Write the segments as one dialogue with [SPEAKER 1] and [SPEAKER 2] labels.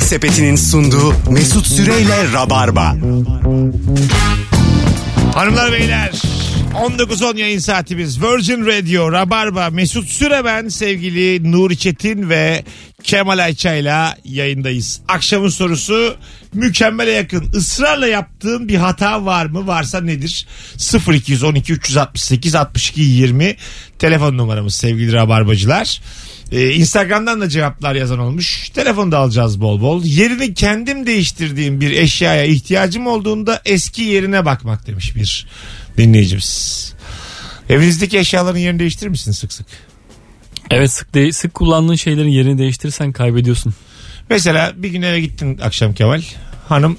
[SPEAKER 1] Sepeti'nin sunduğu Mesut Süreyle Rabarba.
[SPEAKER 2] Hanımlar beyler 19.10 yayın saatimiz Virgin Radio Rabarba Mesut Süre ben sevgili Nuri Çetin ve Kemal Ayça'yla yayındayız. Akşamın sorusu mükemmele yakın ısrarla yaptığın bir hata var mı varsa nedir 0212 368 62 20 telefon numaramız sevgili Rabarbacılar. Ee, Instagram'dan da cevaplar yazan olmuş. Telefonu da alacağız bol bol. Yerini kendim değiştirdiğim bir eşyaya ihtiyacım olduğunda eski yerine bakmak demiş bir dinleyicimiz. Evinizdeki eşyaların yerini değiştirir misin sık sık?
[SPEAKER 3] Evet sık de- sık kullandığın şeylerin yerini değiştirirsen kaybediyorsun.
[SPEAKER 2] Mesela bir gün eve gittin akşam Kemal. Hanım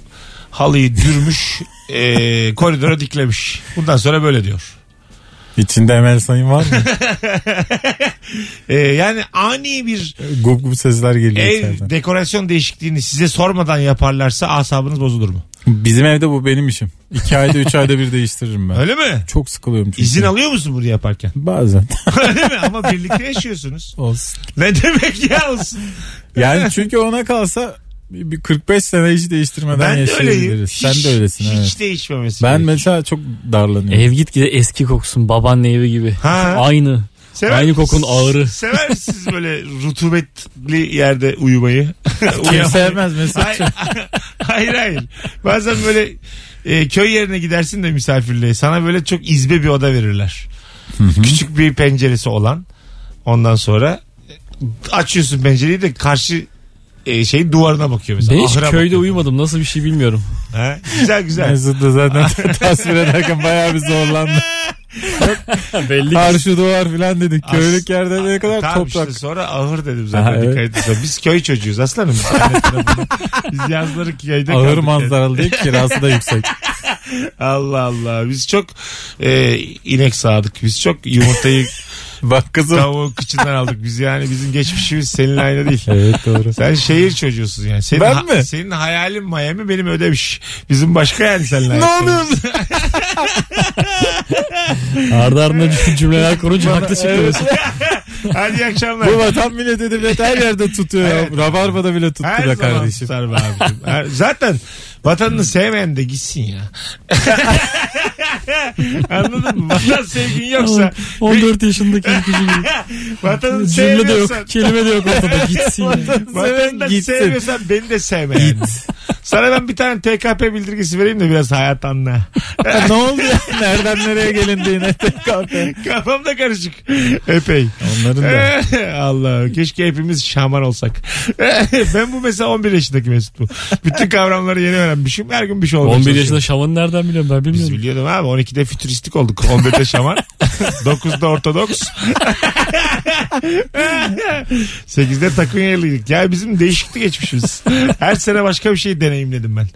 [SPEAKER 2] halıyı dürmüş eee, koridora diklemiş. Bundan sonra böyle diyor.
[SPEAKER 4] İçinde Emel Sayın var mı?
[SPEAKER 2] Eee, E, yani ani bir
[SPEAKER 4] gup gup sesler geliyor
[SPEAKER 2] ev
[SPEAKER 4] içeriden.
[SPEAKER 2] dekorasyon değişikliğini size sormadan yaparlarsa asabınız bozulur mu?
[SPEAKER 4] Bizim evde bu benim işim. İki ayda üç ayda bir değiştiririm ben.
[SPEAKER 2] Öyle mi?
[SPEAKER 4] Çok sıkılıyorum çünkü.
[SPEAKER 2] İzin alıyor musun bunu yaparken?
[SPEAKER 4] Bazen.
[SPEAKER 2] Öyle mi? Ama birlikte yaşıyorsunuz.
[SPEAKER 4] Olsun.
[SPEAKER 2] Ne demek ya olsun?
[SPEAKER 4] Yani çünkü ona kalsa bir bir 45 sene hiç değiştirmeden
[SPEAKER 2] Ben de öyleyim.
[SPEAKER 4] yaşayabiliriz. Sen de öylesin.
[SPEAKER 2] Hiç
[SPEAKER 4] evet.
[SPEAKER 2] değişmemesi.
[SPEAKER 4] Ben
[SPEAKER 2] gerekiyor.
[SPEAKER 4] mesela çok darlanıyorum.
[SPEAKER 3] Ev git gide eski koksun babaanne evi gibi.
[SPEAKER 2] Ha.
[SPEAKER 3] Aynı.
[SPEAKER 2] Sever
[SPEAKER 3] Aynı kokun ağırı.
[SPEAKER 2] Sever misiniz böyle rutubetli yerde uyumayı?
[SPEAKER 4] Kim
[SPEAKER 2] Uyuyamayı.
[SPEAKER 4] sevmez mesela.
[SPEAKER 2] hayır, hayır hayır. Bazen böyle e, köy yerine gidersin de misafirliğe. Sana böyle çok izbe bir oda verirler. Küçük bir penceresi olan. Ondan sonra e, açıyorsun pencereyi de karşı e, şeyin duvarına bakıyor mesela.
[SPEAKER 3] Ben hiç
[SPEAKER 2] Ahıra
[SPEAKER 3] köyde
[SPEAKER 2] bakıyor.
[SPEAKER 3] uyumadım nasıl bir şey bilmiyorum.
[SPEAKER 2] Ha? Güzel güzel.
[SPEAKER 4] Mesut da zaten tasvir ederken bayağı bir zorlandı.
[SPEAKER 3] Belli.
[SPEAKER 4] Karşı duvar filan dedik. Köylük yerde ne kadar
[SPEAKER 2] Tamam
[SPEAKER 4] toprak.
[SPEAKER 2] işte sonra ahır dedim zaten
[SPEAKER 4] Aha, evet.
[SPEAKER 2] dikkat et. Biz köy çocuğuyuz aslanım. Biz anlatırım bunu. Biz yazları köyde
[SPEAKER 4] Ağır
[SPEAKER 2] kaldık yani.
[SPEAKER 4] manzaralı değil kirası da yüksek.
[SPEAKER 2] Allah Allah. Biz çok e, inek sağdık. Biz çok yumurtayı
[SPEAKER 4] Bak kızım.
[SPEAKER 2] tavuğu kıçından aldık. Biz yani bizim geçmişimiz senin aynı değil.
[SPEAKER 4] Evet doğru.
[SPEAKER 2] Sen şehir çocuğusun yani. Senin
[SPEAKER 4] Ben mi?
[SPEAKER 2] Senin hayalin Miami benim ödemiş. Bizim başka yani seninle.
[SPEAKER 4] Ne oluyorsun?
[SPEAKER 3] Ardı ardına cüm- cümleler kurunca haklı çıkıyorsun.
[SPEAKER 2] Hadi iyi akşamlar.
[SPEAKER 4] Bu vatan millet edebiyat her yerde tutuyor. ya.
[SPEAKER 2] Evet.
[SPEAKER 4] Rabarba'da bile tuttu
[SPEAKER 2] Her
[SPEAKER 4] be
[SPEAKER 2] zaman
[SPEAKER 4] kardeşim.
[SPEAKER 2] tutar be abicim. Her- Zaten vatanını sevmeyen de gitsin ya. Anladın mı? Vatan sevgin yoksa
[SPEAKER 3] 14 yaşındaki bir cümle.
[SPEAKER 2] vatanını
[SPEAKER 3] Cümle de yok.
[SPEAKER 2] sevmiyorsan
[SPEAKER 3] Kelime de yok ortada. Gitsin. ya.
[SPEAKER 2] Vatanını da
[SPEAKER 4] Gitsin.
[SPEAKER 2] sevmiyorsan beni de sevme yani. Sana ben bir tane TKP bildirgesi vereyim de biraz hayat anla.
[SPEAKER 4] ne oldu ya? Nereden nereye gelindi yine TKP?
[SPEAKER 2] Kafam da karışık. Epey.
[SPEAKER 4] Onların da.
[SPEAKER 2] Allah keşke hepimiz şaman olsak. ben bu mesela 11 yaşındaki Mesut bu. Bütün kavramları yeni öğrenmişim. Her gün bir şey olmuyor.
[SPEAKER 3] 11 yaşında şamanı nereden biliyorum ben
[SPEAKER 2] biz
[SPEAKER 3] bilmiyorum.
[SPEAKER 2] biliyordum abi 12'de fütüristik olduk. 11'de şaman. 9'da ortodoks. 8'de takınyalıydık. Ya bizim değişikti geçmişimiz. Her sene başka bir şey deneyimledim ben.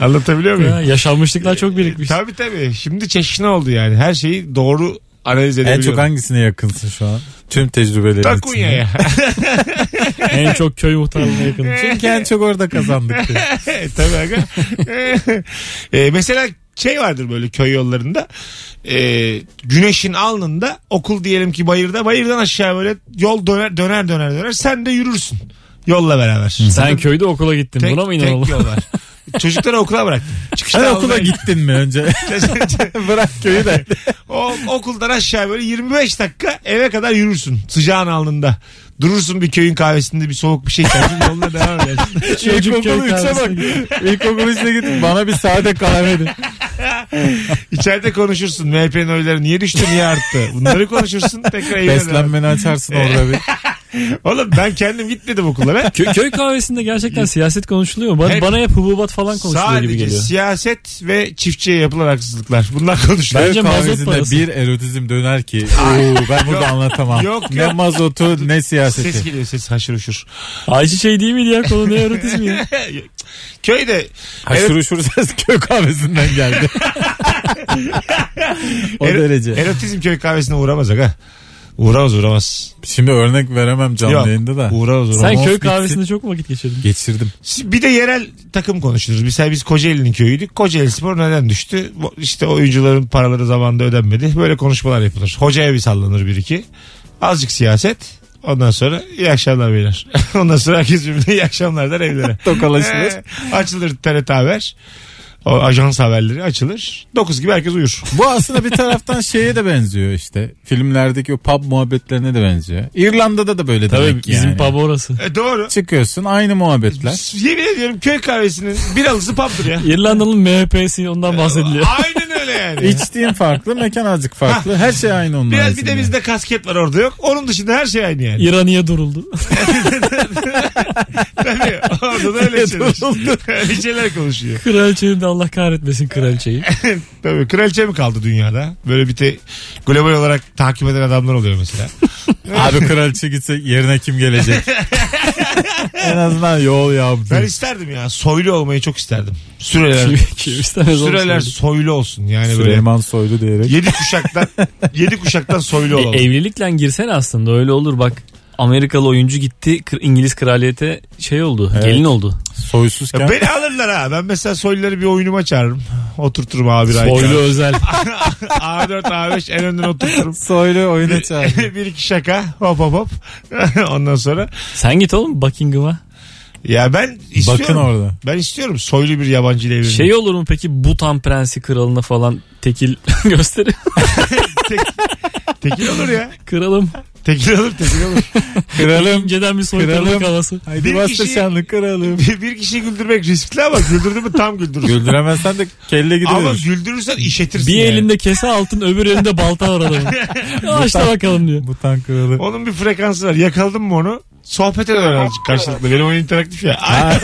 [SPEAKER 2] Anlatabiliyor muyum?
[SPEAKER 3] Ya, yaşanmışlıklar çok birikmiş.
[SPEAKER 2] Tabii tabii. Şimdi çeşitli oldu yani. Her şeyi doğru analiz
[SPEAKER 4] En çok
[SPEAKER 2] edebiliyorum.
[SPEAKER 4] hangisine yakınsın şu an? Tüm tecrübelerin içinde.
[SPEAKER 2] Takunya'ya.
[SPEAKER 3] en çok köy muhtarlığına yakın.
[SPEAKER 4] Çünkü en çok orada kazandık. diyor.
[SPEAKER 2] E, Tabii aga. E, mesela şey vardır böyle köy yollarında e, güneşin alnında okul diyelim ki bayırda bayırdan aşağı böyle yol döner döner döner döner sen de yürürsün yolla beraber.
[SPEAKER 3] Sen köyde okula gittin.
[SPEAKER 2] tek,
[SPEAKER 3] Buna mı
[SPEAKER 2] tek
[SPEAKER 3] inanalım?
[SPEAKER 2] yol var. Çocukları okula bıraktım. Çıkışta
[SPEAKER 4] Sen
[SPEAKER 2] almaya
[SPEAKER 4] okula
[SPEAKER 2] gittim.
[SPEAKER 4] gittin mi önce? Bırak köyü de.
[SPEAKER 2] o, okuldan aşağı böyle 25 dakika eve kadar yürürsün sıcağın alnında. Durursun bir köyün kahvesinde bir soğuk bir şey içersin yoluna devam edersin.
[SPEAKER 3] Çocuk köy
[SPEAKER 4] İlkokul 3'e bak. İlkokul 3'e git. Bana bir sade kahve de.
[SPEAKER 2] İçeride konuşursun MHP'nin oyları niye düştü niye arttı. Bunları konuşursun tekrar evine devam.
[SPEAKER 4] Beslenmeni açarsın orada bir.
[SPEAKER 2] Oğlum ben kendim gitmedim okula.
[SPEAKER 3] Kö- köy kahvesinde gerçekten siyaset konuşuluyor mu? Bana,
[SPEAKER 2] Hep-
[SPEAKER 3] bana hep hububat falan konuşuluyor gibi
[SPEAKER 2] Sadece
[SPEAKER 3] geliyor.
[SPEAKER 2] siyaset ve çiftçiye yapılan haksızlıklar. Bunlar konuşuluyor.
[SPEAKER 4] Bence
[SPEAKER 3] Bence mazot
[SPEAKER 4] kahvesinde
[SPEAKER 3] parası.
[SPEAKER 4] bir erotizm döner ki. Oo, ben burada anlatamam.
[SPEAKER 2] Yok,
[SPEAKER 4] Ne
[SPEAKER 2] yok.
[SPEAKER 4] mazotu ne siyaseti.
[SPEAKER 2] Ses geliyor ses haşır uşur.
[SPEAKER 3] Ayşe şey değil miydi ya konu ne erotizmi ya?
[SPEAKER 2] Köyde
[SPEAKER 4] Haşır uşur ses köy kahvesinden geldi. o
[SPEAKER 2] ero-
[SPEAKER 4] derece.
[SPEAKER 2] erotizm köy kahvesine uğramaz aga. Uğramaz uğramaz.
[SPEAKER 4] Şimdi örnek veremem canlı
[SPEAKER 2] Yok,
[SPEAKER 4] yayında da.
[SPEAKER 2] Uğramaz uğramaz.
[SPEAKER 3] Sen
[SPEAKER 4] Romoz
[SPEAKER 3] köy
[SPEAKER 4] bitti.
[SPEAKER 3] kahvesinde çok mu vakit geçirdin?
[SPEAKER 4] Geçirdim.
[SPEAKER 2] Bir de yerel takım konuşuruz. Mesela biz Kocaeli'nin köyüydük. Kocaeli Spor neden düştü? Bu- İşte oyuncuların paraları zamanında ödenmedi. Böyle konuşmalar yapılır. Hocaya bir sallanır bir iki. Azıcık siyaset. Ondan sonra iyi akşamlar beyler. Ondan sonra herkes birbirine iyi akşamlar der evlere.
[SPEAKER 4] Tokalaşılır.
[SPEAKER 2] Ee, açılır TRT haber. O ajans haberleri açılır. 9 gibi herkes uyur.
[SPEAKER 4] Bu aslında bir taraftan şeye de benziyor işte. Filmlerdeki o pub muhabbetlerine de benziyor. İrlanda'da da böyle
[SPEAKER 3] Tabii
[SPEAKER 4] demek ki
[SPEAKER 3] bizim
[SPEAKER 4] yani.
[SPEAKER 3] pub orası.
[SPEAKER 2] E, doğru.
[SPEAKER 4] Çıkıyorsun aynı muhabbetler.
[SPEAKER 2] Yemin ediyorum köy kahvesinin bir alısı paptır ya.
[SPEAKER 3] İrlanda'nın MHP'si ondan bahsediliyor.
[SPEAKER 2] Aynen öyle yani.
[SPEAKER 4] İçtiğin farklı, mekan azıcık farklı. Her şey aynı onun
[SPEAKER 2] Biraz bir
[SPEAKER 4] arasında.
[SPEAKER 2] de bizde kasket var orada yok. Onun dışında her şey aynı yani.
[SPEAKER 3] İraniye duruldu.
[SPEAKER 2] Tabii. Orada da öyle şeyler. öyle şeyler konuşuyor.
[SPEAKER 3] Kraliçeyi de Allah kahretmesin kraliçeyi.
[SPEAKER 2] Tabii kraliçe mi kaldı dünyada? Böyle bir te global olarak takip eden adamlar oluyor mesela.
[SPEAKER 4] Abi kraliçe gitse yerine kim gelecek? en azından yol yaptı.
[SPEAKER 2] Ben isterdim ya. Soylu olmayı çok isterdim. Süreler.
[SPEAKER 3] kim, kim istemez E, onu
[SPEAKER 2] süreler
[SPEAKER 3] söyleyeyim.
[SPEAKER 2] soylu olsun. Yani
[SPEAKER 4] Süleyman Soylu diyerek.
[SPEAKER 2] böyle yedi kuşaktan yedi kuşaktan soylu
[SPEAKER 3] E,
[SPEAKER 2] olalım.
[SPEAKER 3] evlilikle girsene aslında öyle olur bak. Amerikalı oyuncu gitti kır- İngiliz kraliyete şey oldu
[SPEAKER 4] Evet.
[SPEAKER 3] gelin oldu.
[SPEAKER 4] Soysuzken.
[SPEAKER 2] Ya beni alırlar ha. Ben mesela soyluları bir oyunuma çağırırım. Oturturum abi.
[SPEAKER 3] Soylu özel.
[SPEAKER 2] A4 A5 en önden oturturum.
[SPEAKER 4] Soylu oyuna çağırdı.
[SPEAKER 2] bir iki şaka hop hop hop. Ondan sonra
[SPEAKER 3] Sen git oğlum Buckingham'a.
[SPEAKER 2] ya ben istiyorum.
[SPEAKER 4] Bakın orada.
[SPEAKER 2] Ben istiyorum soylu bir yabancı ile evlenmek.
[SPEAKER 3] Şey olur mu peki Bhutan prensi kralına falan tekil gösteri
[SPEAKER 2] Tekil olur ya.
[SPEAKER 3] kralım.
[SPEAKER 2] Tekil olur tekil olur.
[SPEAKER 4] Kralım.
[SPEAKER 3] İnceden bir soykırılık
[SPEAKER 4] Kralım.
[SPEAKER 3] havası.
[SPEAKER 4] Haydi
[SPEAKER 2] Bir
[SPEAKER 4] bastır
[SPEAKER 2] kişi-
[SPEAKER 4] şanlı kralım.
[SPEAKER 2] bir, bir kişiyi güldürmek riskli ama güldürdün mü tam güldürürsün.
[SPEAKER 4] Güldüremezsen de kelle
[SPEAKER 2] ama
[SPEAKER 4] gidiyor.
[SPEAKER 2] güldürürsen işetirsin.
[SPEAKER 3] Bir
[SPEAKER 2] yani.
[SPEAKER 3] elinde kese altın öbür elinde balta var adamın. Açta bakalım diyor.
[SPEAKER 4] Mutan kralı.
[SPEAKER 2] Onun bir frekansı var. Yakaladın mı onu? Sohbet eder azıcık karşılıklı. Benim oyun interaktif ya. Ay,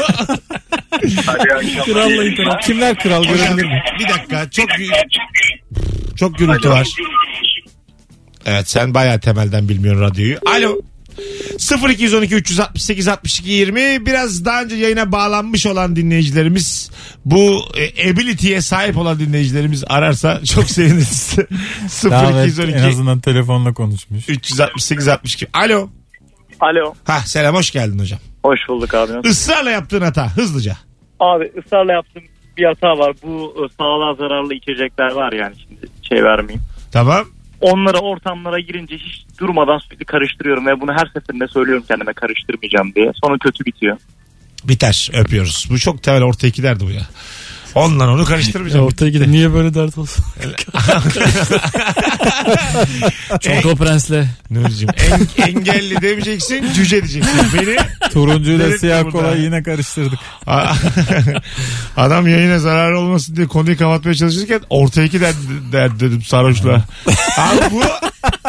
[SPEAKER 3] Kralla internet.
[SPEAKER 4] Kimler kral
[SPEAKER 2] hocam,
[SPEAKER 4] görebilir mi?
[SPEAKER 2] bir dakika. Çok gü- çok gürültü var. Evet sen bayağı temelden bilmiyorsun radyoyu. Alo. 0212 368 62 20 biraz daha önce yayına bağlanmış olan dinleyicilerimiz bu e, ability'ye sahip olan dinleyicilerimiz ararsa çok seviniriz.
[SPEAKER 4] Davet en
[SPEAKER 2] 0212
[SPEAKER 4] azından telefonla konuşmuş.
[SPEAKER 2] 368 62. Alo.
[SPEAKER 5] Alo.
[SPEAKER 2] Ha selam hoş geldin hocam.
[SPEAKER 5] Hoş bulduk abi. Nasıl-
[SPEAKER 2] Israrla yaptığın hata hızlıca.
[SPEAKER 5] Abi ısrarla yaptığım bir hata var. Bu e, sağlığa zararlı içecekler var yani şimdi şey vermeyeyim.
[SPEAKER 2] Tamam.
[SPEAKER 5] Onlara ortamlara girince hiç durmadan sürekli karıştırıyorum ve bunu her seferinde söylüyorum kendime karıştırmayacağım diye. Sonra kötü bitiyor.
[SPEAKER 2] Biter öpüyoruz. Bu çok temel orta iki derdi bu ya. Onunla onu karıştırmayacağım.
[SPEAKER 3] Ortaya gidin. Niye böyle dert olsun? Çoko Prens'le.
[SPEAKER 2] Nurcuğum en, engelli demeyeceksin cüce diyeceksin. Beni
[SPEAKER 4] Turuncuyla
[SPEAKER 2] Delirtme
[SPEAKER 4] siyah
[SPEAKER 2] bunu
[SPEAKER 4] kola
[SPEAKER 2] da.
[SPEAKER 4] yine karıştırdık.
[SPEAKER 2] A- adam yayına zarar olmasın diye konuyu kapatmaya çalışırken orta iki der, der dedim sarhoşla. Abi bu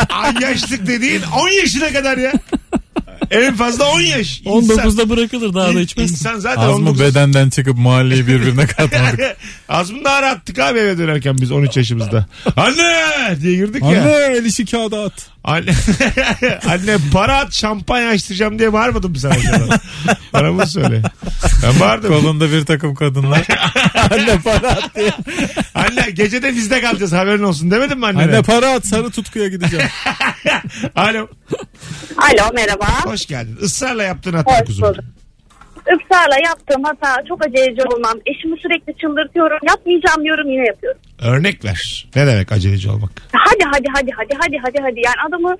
[SPEAKER 2] ay yaşlık dediğin 10 yaşına kadar ya. En fazla 10 yaş. İnsan-
[SPEAKER 3] 19'da bırakılır daha da içmez.
[SPEAKER 2] İnsan zaten
[SPEAKER 4] Az mı
[SPEAKER 2] 19.
[SPEAKER 4] bedenden çıkıp mahalleyi birbirine katmadık?
[SPEAKER 2] Az mı daha rahattık abi eve dönerken biz 13 yaşımızda. Anne diye girdik ya.
[SPEAKER 4] Anne el işi kağıda at.
[SPEAKER 2] Anne, anne para at şampanya açtıracağım diye bağırmadım mı sana acaba? Bana bunu söyle. Ben bağırdım.
[SPEAKER 4] Kolunda bir takım kadınlar. Anne para at diye.
[SPEAKER 2] Anne gecede bizde kalacağız haberin olsun demedim mi annene?
[SPEAKER 4] Anne para at sarı tutkuya gideceğim.
[SPEAKER 2] Alo.
[SPEAKER 6] Alo merhaba.
[SPEAKER 2] Hoş geldin. Israrla yaptığın hata
[SPEAKER 6] Hoş
[SPEAKER 2] kuzum.
[SPEAKER 6] bulduk. Israrla yaptığım hata çok aceleci olmam. Eşimi sürekli çıldırtıyorum. Yapmayacağım diyorum yine yapıyorum.
[SPEAKER 2] Örnek ver. Ne demek aceleci olmak?
[SPEAKER 6] Hadi hadi hadi hadi hadi hadi hadi. Yani adamı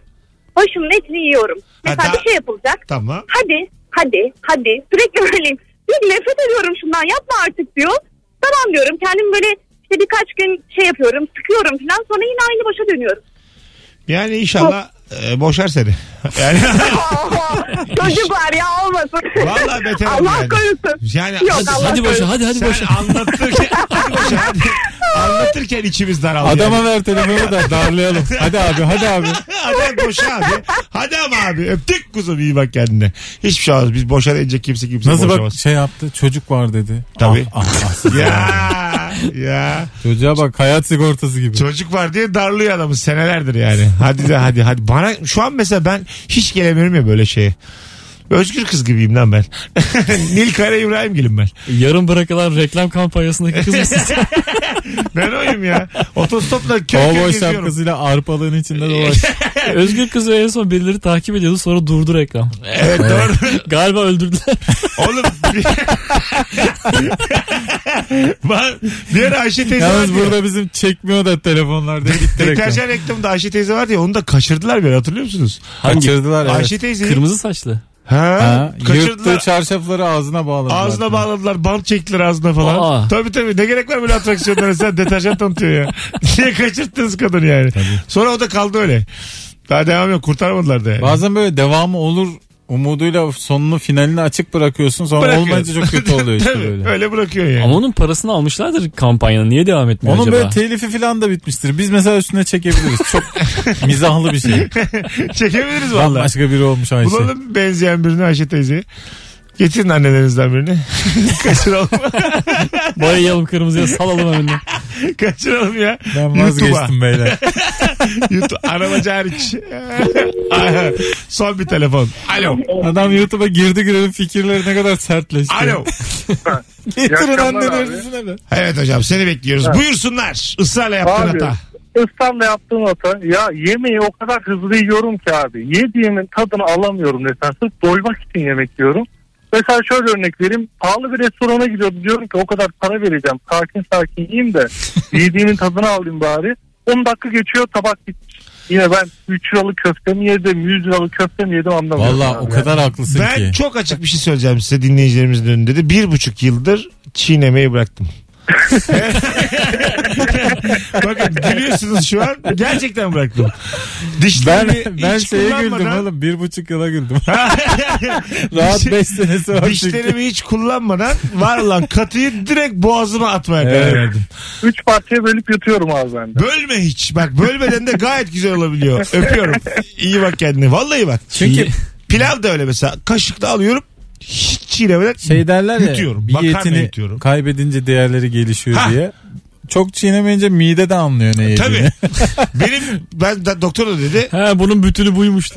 [SPEAKER 6] başımın etini yiyorum. Mesela
[SPEAKER 2] Hadi.
[SPEAKER 6] bir şey yapılacak.
[SPEAKER 2] Tamam.
[SPEAKER 6] Hadi hadi hadi. Sürekli böyleyim. Bir nefret ediyorum şundan yapma artık diyor. Tamam diyorum. Kendim böyle işte birkaç gün şey yapıyorum. Sıkıyorum falan. Sonra yine aynı başa dönüyorum.
[SPEAKER 2] Yani inşallah e, boşar seni. Yani
[SPEAKER 6] Çocuk var ya olmasın.
[SPEAKER 2] Vallahi beter oldu
[SPEAKER 6] Allah
[SPEAKER 2] yani.
[SPEAKER 6] korusun.
[SPEAKER 2] Yani
[SPEAKER 6] Yok,
[SPEAKER 2] hadi-
[SPEAKER 6] Allah
[SPEAKER 3] Hadi başa hadi hadi
[SPEAKER 2] sen
[SPEAKER 3] başa.
[SPEAKER 2] anlatırken, hadi boşa, hadi. anlatırken içimiz daraldı. yani.
[SPEAKER 4] Adama ver telefonu da darlayalım. Hadi abi hadi abi.
[SPEAKER 2] Hadi boşa abi. Hadi ama abi. Öptük kuzum iyi bak kendine. Hiçbir şey olmaz. Biz boşa deyince kimse kimse
[SPEAKER 4] Nasıl bak
[SPEAKER 2] boşamaz.
[SPEAKER 4] şey yaptı çocuk var dedi.
[SPEAKER 2] Tabii.
[SPEAKER 4] Ah, ah, ah.
[SPEAKER 2] Ya ya.
[SPEAKER 4] Çocuğa bak hayat sigortası gibi.
[SPEAKER 2] Çocuk var diye darlıyor adamı senelerdir yani. Hadi de hadi hadi. Bana şu an mesela ben hiç gelemiyorum ya böyle şeye. Özgür kız gibiyim lan ben. Nil Kara İbrahim gelin ben.
[SPEAKER 3] Yarın bırakılan reklam kampanyasındaki kız mısın sen?
[SPEAKER 2] Ben oyum ya. Otostopla köy köy
[SPEAKER 4] Kovboy
[SPEAKER 2] geziyorum.
[SPEAKER 4] şapkasıyla arpalığın içinde dolaş.
[SPEAKER 3] Özgür kızı en son birileri takip ediyordu sonra durdu reklam.
[SPEAKER 2] Evet doğru.
[SPEAKER 3] Galiba öldürdüler.
[SPEAKER 2] Oğlum bir... Ben- bir ara Ayşe teyze
[SPEAKER 4] Yalnız
[SPEAKER 2] vardı ya.
[SPEAKER 4] burada bizim çekmiyor da telefonlarda gitti reklam.
[SPEAKER 2] Deterjan reklamında Ayşe teyze vardı ya onu da kaçırdılar bir ara, hatırlıyor musunuz?
[SPEAKER 4] Kaçırdılar evet.
[SPEAKER 2] Ayşe teyze
[SPEAKER 3] Kırmızı saçlı.
[SPEAKER 2] ha,
[SPEAKER 4] Ha, yırttığı
[SPEAKER 2] kaçırdılar.
[SPEAKER 4] çarşafları ağzına bağladılar.
[SPEAKER 2] Ağzına bağladılar, bant çektiler ağzına falan.
[SPEAKER 3] Aa.
[SPEAKER 2] Tabii tabii ne gerek var böyle atraksiyonlara sen deterjan tanıtıyor ya. Niye kaçırttınız kadını yani. Sonra o da kaldı öyle. Daha devam yok kurtarmadılar da yani.
[SPEAKER 4] Bazen böyle devamı olur umuduyla sonunu finalini açık bırakıyorsun sonra
[SPEAKER 2] Bırakıyor.
[SPEAKER 4] olmayınca çok kötü oluyor işte
[SPEAKER 2] Tabii,
[SPEAKER 4] böyle.
[SPEAKER 2] Öyle bırakıyor yani.
[SPEAKER 3] Ama onun parasını almışlardır kampanyana. Niye devam etmiyor
[SPEAKER 4] Onun
[SPEAKER 3] acaba?
[SPEAKER 4] böyle telifi falan da bitmiştir. Biz mesela üstüne çekebiliriz. Çok mizahlı bir şey.
[SPEAKER 2] Çekebiliriz valla.
[SPEAKER 4] Bambaşka biri olmuş Ayşe.
[SPEAKER 2] Bulalım benzeyen birini Ayşe teyzeyi. Getirin annelerinizden birini. kaçıralım.
[SPEAKER 3] Boyayalım kırmızıya salalım önüne.
[SPEAKER 2] kaçıralım ya.
[SPEAKER 4] Ben
[SPEAKER 2] YouTube'a.
[SPEAKER 4] vazgeçtim beyler.
[SPEAKER 2] YouTube arabacı hariç. Son bir telefon. Alo.
[SPEAKER 4] Adam YouTube'a girdi girelim fikirleri ne kadar sertleşti.
[SPEAKER 2] Alo.
[SPEAKER 4] Getirin
[SPEAKER 5] akşamlar abi.
[SPEAKER 4] annelerini be.
[SPEAKER 2] Evet hocam seni bekliyoruz. Buyursunlar. Israrla yaptığın
[SPEAKER 5] Abi.
[SPEAKER 2] hata.
[SPEAKER 5] İstanbul'da yaptığım hata ya yemeği o kadar hızlı yiyorum ki abi. Yediğimin tadını alamıyorum desen sırf doymak için yemek yiyorum. Mesela şöyle örnek vereyim. Pahalı bir restorana gidiyorum. Diyorum ki o kadar para vereceğim. Sakin sakin yiyeyim de yediğimin tadını alayım bari. 10 dakika geçiyor tabak bitmiş. Yine ben 3 liralık köfte mi yedim 100 liralık köfte mi yedim anlamıyorum.
[SPEAKER 4] Valla
[SPEAKER 5] abi.
[SPEAKER 4] o kadar haklısın
[SPEAKER 2] Ben
[SPEAKER 4] ki.
[SPEAKER 2] çok açık bir şey söyleyeceğim size dinleyicilerimizin önünde de. Bir buçuk yıldır çiğnemeyi bıraktım. Bakın gülüyorsunuz şu an. Gerçekten bıraktım.
[SPEAKER 4] Ben,
[SPEAKER 2] Dişlerimi
[SPEAKER 4] ben
[SPEAKER 2] hiç
[SPEAKER 4] şeye güldüm
[SPEAKER 2] kullanmadan-
[SPEAKER 4] oğlum. Bir buçuk yıla güldüm. Rahat
[SPEAKER 2] Diş-
[SPEAKER 4] 5 senesi var çünkü.
[SPEAKER 2] Dişlerimi hiç kullanmadan var olan katıyı direkt boğazıma atmaya karar
[SPEAKER 4] Evet.
[SPEAKER 2] verdim.
[SPEAKER 5] 3 parçaya bölüp yutuyorum abi ben de.
[SPEAKER 2] Bölme hiç. Bak bölmeden de gayet güzel olabiliyor. Öpüyorum. İyi bak kendine. Vallahi bak.
[SPEAKER 4] Çünkü
[SPEAKER 2] Pilav da öyle mesela. Kaşıkla alıyorum. Hiç çiğnemeden.
[SPEAKER 4] şey derler ya
[SPEAKER 2] Hmm. Yutuyorum.
[SPEAKER 4] bir
[SPEAKER 2] Makarna
[SPEAKER 4] yetini
[SPEAKER 2] yutuyorum.
[SPEAKER 4] kaybedince değerleri gelişiyor
[SPEAKER 2] Ha.
[SPEAKER 4] diye. Çok çiğnemeyince mide de anlıyor ne
[SPEAKER 2] Tabii.
[SPEAKER 4] yediğini.
[SPEAKER 2] Benim ben da, doktor da dedi.
[SPEAKER 3] He bunun bütünü buymuş.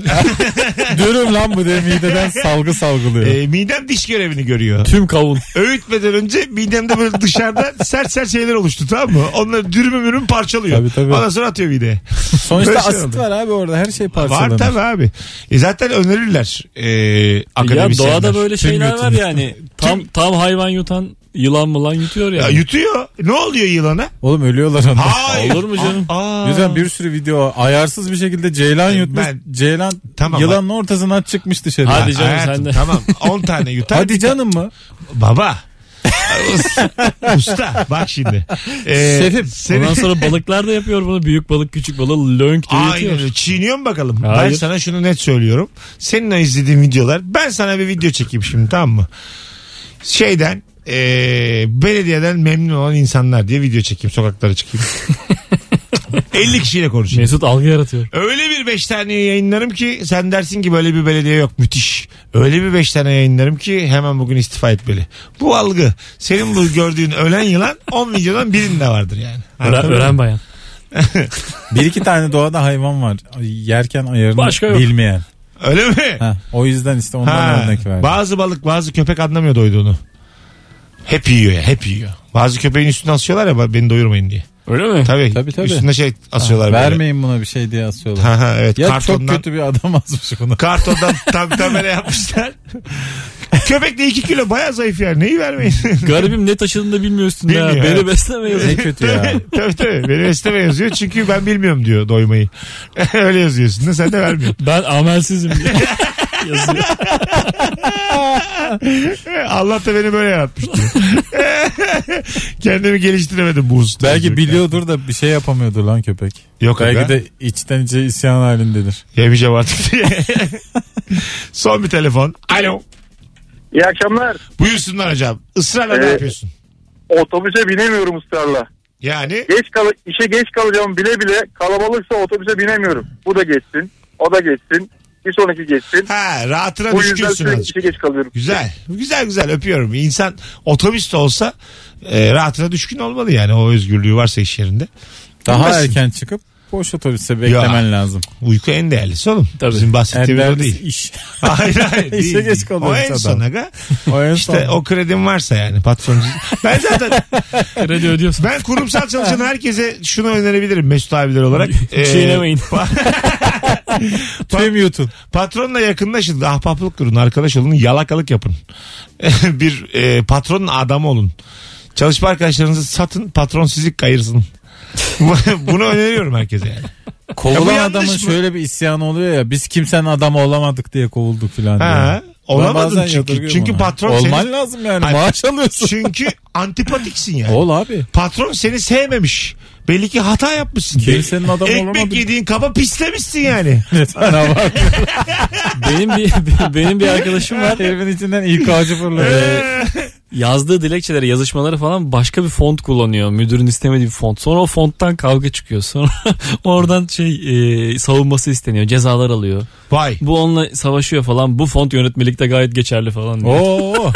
[SPEAKER 4] Dürüm lan bu diye mideden salgı salgılıyor.
[SPEAKER 2] e, midem diş görevini görüyor.
[SPEAKER 3] Tüm kavun.
[SPEAKER 2] Öğütmeden önce midemde böyle dışarıda sert sert şeyler oluştu tamam mı? Onları dürüm mürüm parçalıyor.
[SPEAKER 4] Tabii, tabii.
[SPEAKER 2] Ondan sonra atıyor mideye.
[SPEAKER 4] Sonuçta
[SPEAKER 2] Böyle şey
[SPEAKER 4] asit
[SPEAKER 2] oldu.
[SPEAKER 4] var abi orada her şey parçalanır.
[SPEAKER 2] Var tabii abi. E, zaten önerirler e,
[SPEAKER 3] Ya
[SPEAKER 2] akademisyenler.
[SPEAKER 3] doğada böyle
[SPEAKER 4] şey Tüm
[SPEAKER 3] şeyler var
[SPEAKER 4] götünü.
[SPEAKER 3] yani. Tam tam hayvan yutan yılan mılan yutuyor
[SPEAKER 2] Ya
[SPEAKER 3] yani.
[SPEAKER 2] yutuyor. Ne oluyor yılana?
[SPEAKER 4] Oğlum ölüyorlar onda.
[SPEAKER 2] Hayır.
[SPEAKER 3] Olur mu canım?
[SPEAKER 2] Aa.
[SPEAKER 4] Yüzden bir sürü video var. ayarsız bir şekilde ceylan yutmuş.
[SPEAKER 2] E, ben-
[SPEAKER 4] Ceylan
[SPEAKER 2] Tamam,
[SPEAKER 4] yılanın ortasından çıkmış dışarı.
[SPEAKER 3] Hadi
[SPEAKER 4] Hadi,
[SPEAKER 3] canım
[SPEAKER 2] Hayatım,
[SPEAKER 3] sen de.
[SPEAKER 2] Tamam 10 tane yutar.
[SPEAKER 4] canım mı?
[SPEAKER 2] Baba. Usta bak şimdi. Ee,
[SPEAKER 4] Şefim,
[SPEAKER 2] seni-
[SPEAKER 3] Ondan sonra balıklar da yapıyor bunu. Büyük balık küçük balığı lönk diye
[SPEAKER 2] Aynen
[SPEAKER 3] yutuyor.
[SPEAKER 2] öyle. Çiğniyor mu bakalım?
[SPEAKER 3] Hayır.
[SPEAKER 2] Ben sana şunu net söylüyorum. Seninle izlediğim videolar. Ben sana bir video çekeyim şimdi tamam mı? Şeyden eee, belediyeden memnun olan insanlar diye video çekeyim. Sokaklara çıkayım. 50 kişiyle konuşayım.
[SPEAKER 3] Mesut algı yaratıyor.
[SPEAKER 2] Öyle bir 5 tane yayınlarım ki sen dersin ki böyle bir belediye yok müthiş. Öyle bir 5 tane yayınlarım ki hemen bugün istifa etmeli. Bu algı senin bu gördüğün ölen yılan 10 videodan birinde vardır yani.
[SPEAKER 3] Öğren,
[SPEAKER 2] Anladın mı?
[SPEAKER 3] öğren bayan.
[SPEAKER 4] Bir iki tane doğada hayvan var. Yerken ayarını
[SPEAKER 3] Başka yok.
[SPEAKER 4] bilmeyen.
[SPEAKER 2] Öyle mi?
[SPEAKER 4] Ha, o yüzden işte ondan
[SPEAKER 2] Ha,
[SPEAKER 4] örnek verdim.
[SPEAKER 2] bazı balık bazı köpek anlamıyor doyduğunu. Hep yiyor ya hep yiyor. Bazı köpeğin üstüne asıyorlar ya beni doyurmayın diye.
[SPEAKER 3] Öyle mi?
[SPEAKER 2] Tabii,
[SPEAKER 4] Tabii, tabii.
[SPEAKER 2] üstüne şey asıyorlar. böyle.
[SPEAKER 4] Vermeyin buna bir şey diye asıyorlar.
[SPEAKER 2] Ha, ha, evet,
[SPEAKER 4] ya
[SPEAKER 2] kartondan,
[SPEAKER 4] çok kötü bir adam asmış bunu.
[SPEAKER 2] kartondan tam tamere yapmışlar. Köpek de 2 kilo baya zayıf yani neyi vermeyin.
[SPEAKER 3] Garibim ne taşıdığını da bilmiyor üstünde. ha.
[SPEAKER 2] Bilmiyor, evet.
[SPEAKER 3] Beni besleme yazık.
[SPEAKER 4] ne kötü ya.
[SPEAKER 2] tabii tabii beni besleme yazıyor çünkü ben bilmiyorum diyor doymayı. Öyle yazıyorsun da sen de vermiyorsun.
[SPEAKER 3] Ben amelsizim diye. yazıyor.
[SPEAKER 2] E, Allah da beni böyle yaratmış diyor. Kendimi geliştiremedim bu hususta.
[SPEAKER 4] Belki biliyordur da bir şey yapamıyordur lan köpek.
[SPEAKER 2] Yok aga.
[SPEAKER 4] Belki de içten içe isyan halindedir.
[SPEAKER 2] Yemeyeceğim artık diye. Son bir telefon. Alo.
[SPEAKER 5] İyi akşamlar.
[SPEAKER 2] Buyursunlar hocam. Israrla ne
[SPEAKER 5] Ee,
[SPEAKER 2] yapıyorsun?
[SPEAKER 5] Otobüse binemiyorum ısrarla.
[SPEAKER 2] Yani
[SPEAKER 5] geç kal işe geç kalacağım bile bile kalabalıksa otobüse binemiyorum. Bu da geçsin, o da geçsin, bir sonraki geçsin.
[SPEAKER 2] ha rahatına
[SPEAKER 5] Bu yüzden şey-
[SPEAKER 2] düşkünsün
[SPEAKER 5] sürekli
[SPEAKER 2] azıcık.
[SPEAKER 5] işe geç kalıyorum.
[SPEAKER 2] Güzel. Güzel güzel öpüyorum. İnsan otobüs de olsa e, rahatına düşkün olmalı yani. O özgürlüğü varsa iş yerinde.
[SPEAKER 4] Daha
[SPEAKER 2] Bilmezsin.
[SPEAKER 4] erken çıkıp boş otobüse beklemen lazım.
[SPEAKER 2] Uyku en değerlisi oğlum.
[SPEAKER 3] Tabii.
[SPEAKER 2] Bizim bahsettiğimiz o
[SPEAKER 4] Ender
[SPEAKER 2] değil.
[SPEAKER 4] iş.
[SPEAKER 2] Hayır hayır.
[SPEAKER 4] İşe
[SPEAKER 2] değil.
[SPEAKER 4] geç kalıyor
[SPEAKER 2] O en
[SPEAKER 4] insan
[SPEAKER 2] son
[SPEAKER 4] adam.
[SPEAKER 2] aga.
[SPEAKER 4] O en
[SPEAKER 2] İşte
[SPEAKER 4] son.
[SPEAKER 2] o kredim varsa yani patron. Ben zaten
[SPEAKER 3] Kredi ödüyorsun.
[SPEAKER 2] ben kurumsal çalışan herkese şunu önerebilirim Mesut abiler olarak. Ee,
[SPEAKER 3] Çiğnemeyin.
[SPEAKER 4] Tüm YouTube.
[SPEAKER 2] Patronla yakınlaşın. Ahbaplık kurun. Arkadaş olun. Yalakalık yapın. bir e, patronun adamı olun. Çalışma arkadaşlarınızı satın. Patron sizi kayırsın. Bunu öneriyorum herkese yani. Ya bu
[SPEAKER 4] Kovulan
[SPEAKER 2] yanlış
[SPEAKER 4] adamın
[SPEAKER 2] mı?
[SPEAKER 4] şöyle bir isyanı oluyor ya biz kimsenin adamı olamadık diye kovulduk filan
[SPEAKER 2] Ha,
[SPEAKER 4] diye. Ben
[SPEAKER 2] olamadın
[SPEAKER 4] bazen
[SPEAKER 2] çünkü.
[SPEAKER 4] yadırgıyorum
[SPEAKER 2] Çünkü
[SPEAKER 4] ona.
[SPEAKER 2] patron
[SPEAKER 4] Olman
[SPEAKER 2] seni...
[SPEAKER 4] lazım yani
[SPEAKER 2] Hayır.
[SPEAKER 4] maaş alıyorsun.
[SPEAKER 2] Çünkü antipatiksin yani.
[SPEAKER 4] Ol abi.
[SPEAKER 2] Patron seni sevmemiş. Belli ki hata yapmışsın.
[SPEAKER 4] Kimsenin adamı
[SPEAKER 2] Ekmek
[SPEAKER 4] olamadık.
[SPEAKER 2] yediğin kaba pislemişsin yani.
[SPEAKER 4] Sana bak.
[SPEAKER 3] benim bir benim bir arkadaşım var.
[SPEAKER 4] Herimin içinden ilk ağacı fırlıyor.
[SPEAKER 2] Ee,
[SPEAKER 3] Yazdığı dilekçelere, yazışmalara falan başka bir font kullanıyor. Müdürün istemediği bir font. Sonra o fonttan kavga çıkıyor. Sonra oradan şey e, savunması isteniyor. Cezalar alıyor.
[SPEAKER 2] Vay.
[SPEAKER 3] Bu onunla savaşıyor falan. Bu font yönetmelikte gayet geçerli falan diyor.
[SPEAKER 4] Oo.